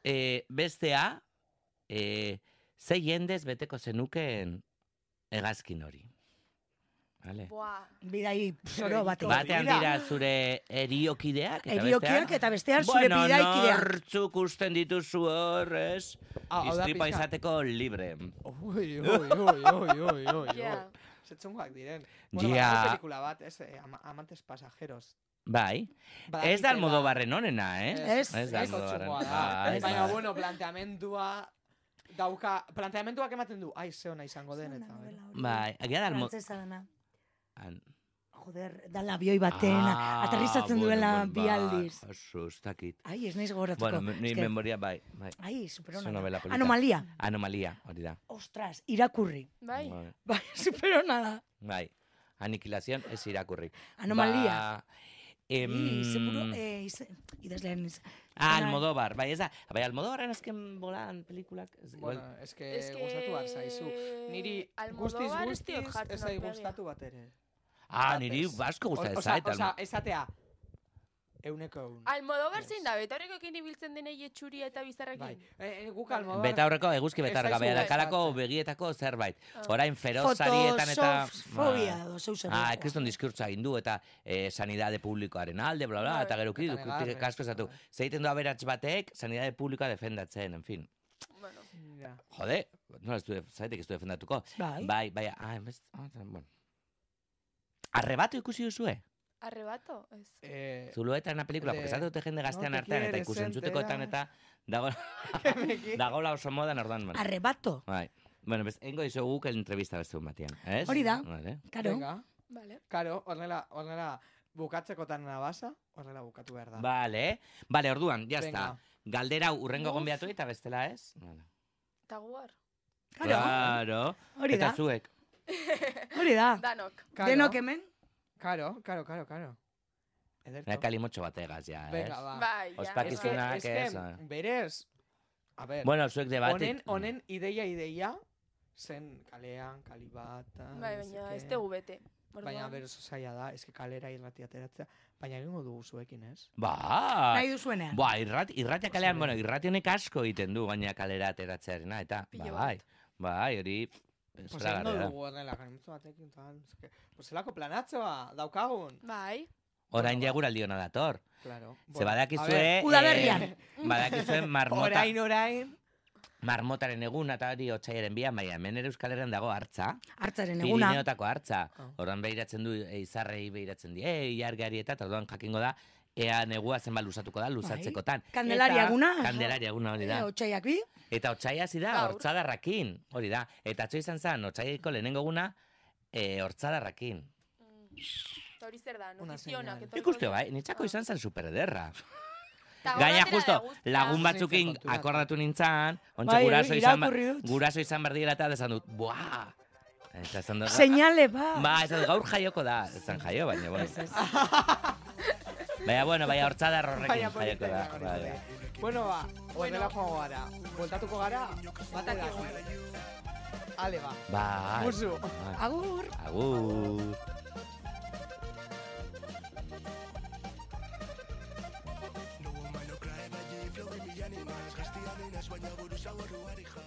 eh, bestea, eh, zei jendez beteko zenukeen hegazkin hori. Vale.
Buah.
Bidai zoro batean.
Batean
Bida-
dira zure eriokideak eta
Eriokiak
bestean...
eta bestean zure
bueno,
bidaikideak.
nortzuk usten dituzu hor, ez?
Ah, hau da
Istripa
pixka-
izateko libre.
Ui, ui, ui, ui, ui, ui, ui.
Ja.
Zetzungoak diren. Bueno,
Ja.
badago pelikula bat, ez, eh, ama- amantes pasajeros.
Bai. Ez da Almodobarren onena, eh?
Ez,
Ez da
ez
Almodobarren.
otxungoa
Ah,
da.
ez
Baina,
da.
bueno, planteamendua dauka, planteamenduak ematen du, ai, ze ona izango den, eta... bueno.
Ba,
Bai, agia da Almo-
Frantsesa dena.
an-
Joder, da labioi batena,
Ah.
aterrizatzen duela
ba,
bi aldiz.
Sustakit.
Ai, ez naiz gogoratuko.
Bueno, ni
Eske-
memoria bai, bai.
Ai, superona.
Oso novela polita.
Anomalia.
Anomalia, hori da.
Ostras, irakurri. (laughs)
Bai.
Ba.
Bai.
Bai, superona da.
Bai. Aniquilación ez irakurri.
Anomalia.
Ba, em,
Ih, Izeburu, eh, ize, idazlean iz-
ah,
izena-
Almodóvar, bai, ez da. Bai, Almodóvarren azken bolan pelikulak. ez- igual-
Bueno, es que, Eh, gustatu behar zaizu. Niri guztiz
Almodóvar ez diot
guztiz
jartzen
ez zai
aurpegia.
gustatu bat ere.
ah, niri
batez.
basko
O-
gusta ez
Osea,
zait.
osea, esatea, Euneko eun.
Almodóvar
Yes.
zein da, betaurrekoekin ibiltzen denei etxuria eta bizarrekin.
Bai. E, e, guk almodovar...
Betaurreko eguzki
Ez
betar
zaizu
dakalako
gustatzen.
begietako zerbait.
Ah.
Orain ferozarietan eta...
Fotosofobia
Ba.
do, zeu zer.
Ah, kriston diskurtza egin du eta eh, sanidade publikoaren alde, bla, bla,
Bai,
eta gero kri,
eta negarrez,
kasko esatu.
bai.
Zeiten du aberats batek, sanidade publikoa defendatzen, en fin.
Bueno,
Ja.
Jode, nola ez du, zaitek ez du defendatuko.
Bai.
Bai, bai, ah, enbez, ah, zan- bueno. Arrebato ikusi duzue?
arrebato, ez.
Eh, (laughs)
Zuluetan na pelikula,
de-
porque zate dute jende gaztean
te
artean, eta
quieres
ikusentzutekoetan
enterar.
eta
(laughs)
dago,
Bekin.
dagola oso modan ordan, bueno.
Arrebato,
Bai. Bueno, bez, engo dizugu guk entrevista beste un batian, ez?
Hori da.
Vale.
karo.
Venga.
Vale.
Karo, horrela, horrela, bukatzekotan nabasa, horrela bukatu behar da.
Vale, vale, orduan, Ba, ya
Venga.
está. Galdera hau urrengo
Uf.
gonbiatu eta bestela ez? Vale.
Eta guar.
Karo,
Ba. Claro.
hori da,
Eta zuek.
hori da.
Danok.
Karo,
Ba, Denok hemen,
Karo, karo, karo, karo. Ederto.
Naka limotxo bategaz, ja, ez?
Venga, ba.
Bai, ja.
Es que,
Ah. Ospakizunak
es que,
ez, ah.
berez, a ver,
Bueno, zuek debatik.
honen, honen ideia ideia, zen kalean, kalibata,
Bai, baina ez dugu bete.
Baina
Orduan,
berez zaila da, eske kalera irrati ateratzea, baina egingo dugu zuekin, ez?
Ba!
nahi duzuenean.
Ba, irrat, irratia kalean,
Oso
bueno, irrati honek asko egiten du, baina kalera ateratzearena, eta, ba,
Pilo
bai,
bat.
bai, hori, ez
Pues egingo
da.
dugu horrela, ganitzu batekin, tal, eske, pues zelako planatzoa, daukagun.
Bai.
Orain
Bueno, ba.
jaguraldi hona dator.
Claro.
Ze badakizue...
a ver,
eh,
Udaberrian.
(laughs)
badakizue marmota,
Orain, orain.
marmotaren egun eta hori otxaiaren bian, baina hemen ere Euskal Herrian dago hartza.
Artzaren eguna. Oh.
Pirineotako hartza.
Ah.
Orduan behiratzen du, e, izarrei behiratzen di, ei, argari eta, eta orduan jakingo da, ea negua zenbat luzatuko da, luzatzekotan.
Kandelaria
Eta
Bai. eguna.
Kandelaria ba, eguna hori da.
Eh, Otsaiak bi.
Eta otsaia hasi da
Gaur.
hortzadarrakin, hori da. Eta atzo izan zen, otsaiaiko lehenengo guna, eh, hortzadarrakin.
Mm. Eta hori zer da,
Una
notizionak.
señal.
Nik uste bai, nitzako
Ah.
izan zen superederra.
Ta gaur
Gaina
atera
justo,
da guztia.
lagun
Zer
batzukin
kontura.
akordatu nintzan,
Bai,
ontsa guraso izan, ba- guraso izan berdiela eta desan dut, buah! Eta esan dut,
Seinale, ba.
ba, esan dut, gaur jaioko da, esan jaio, baina, bueno. Baina, bueno, baina hortzadar horrekin
Baina
jaioko
polita,
da.
polita,
bai, bai.
polita. Bueno, ba, horrela joango gara. Voltatuko gara, batakigu. Ale, ba.
Bai.
Musu.
Bai.
Agur.
Agur.
Baina buruz hau horuari jarri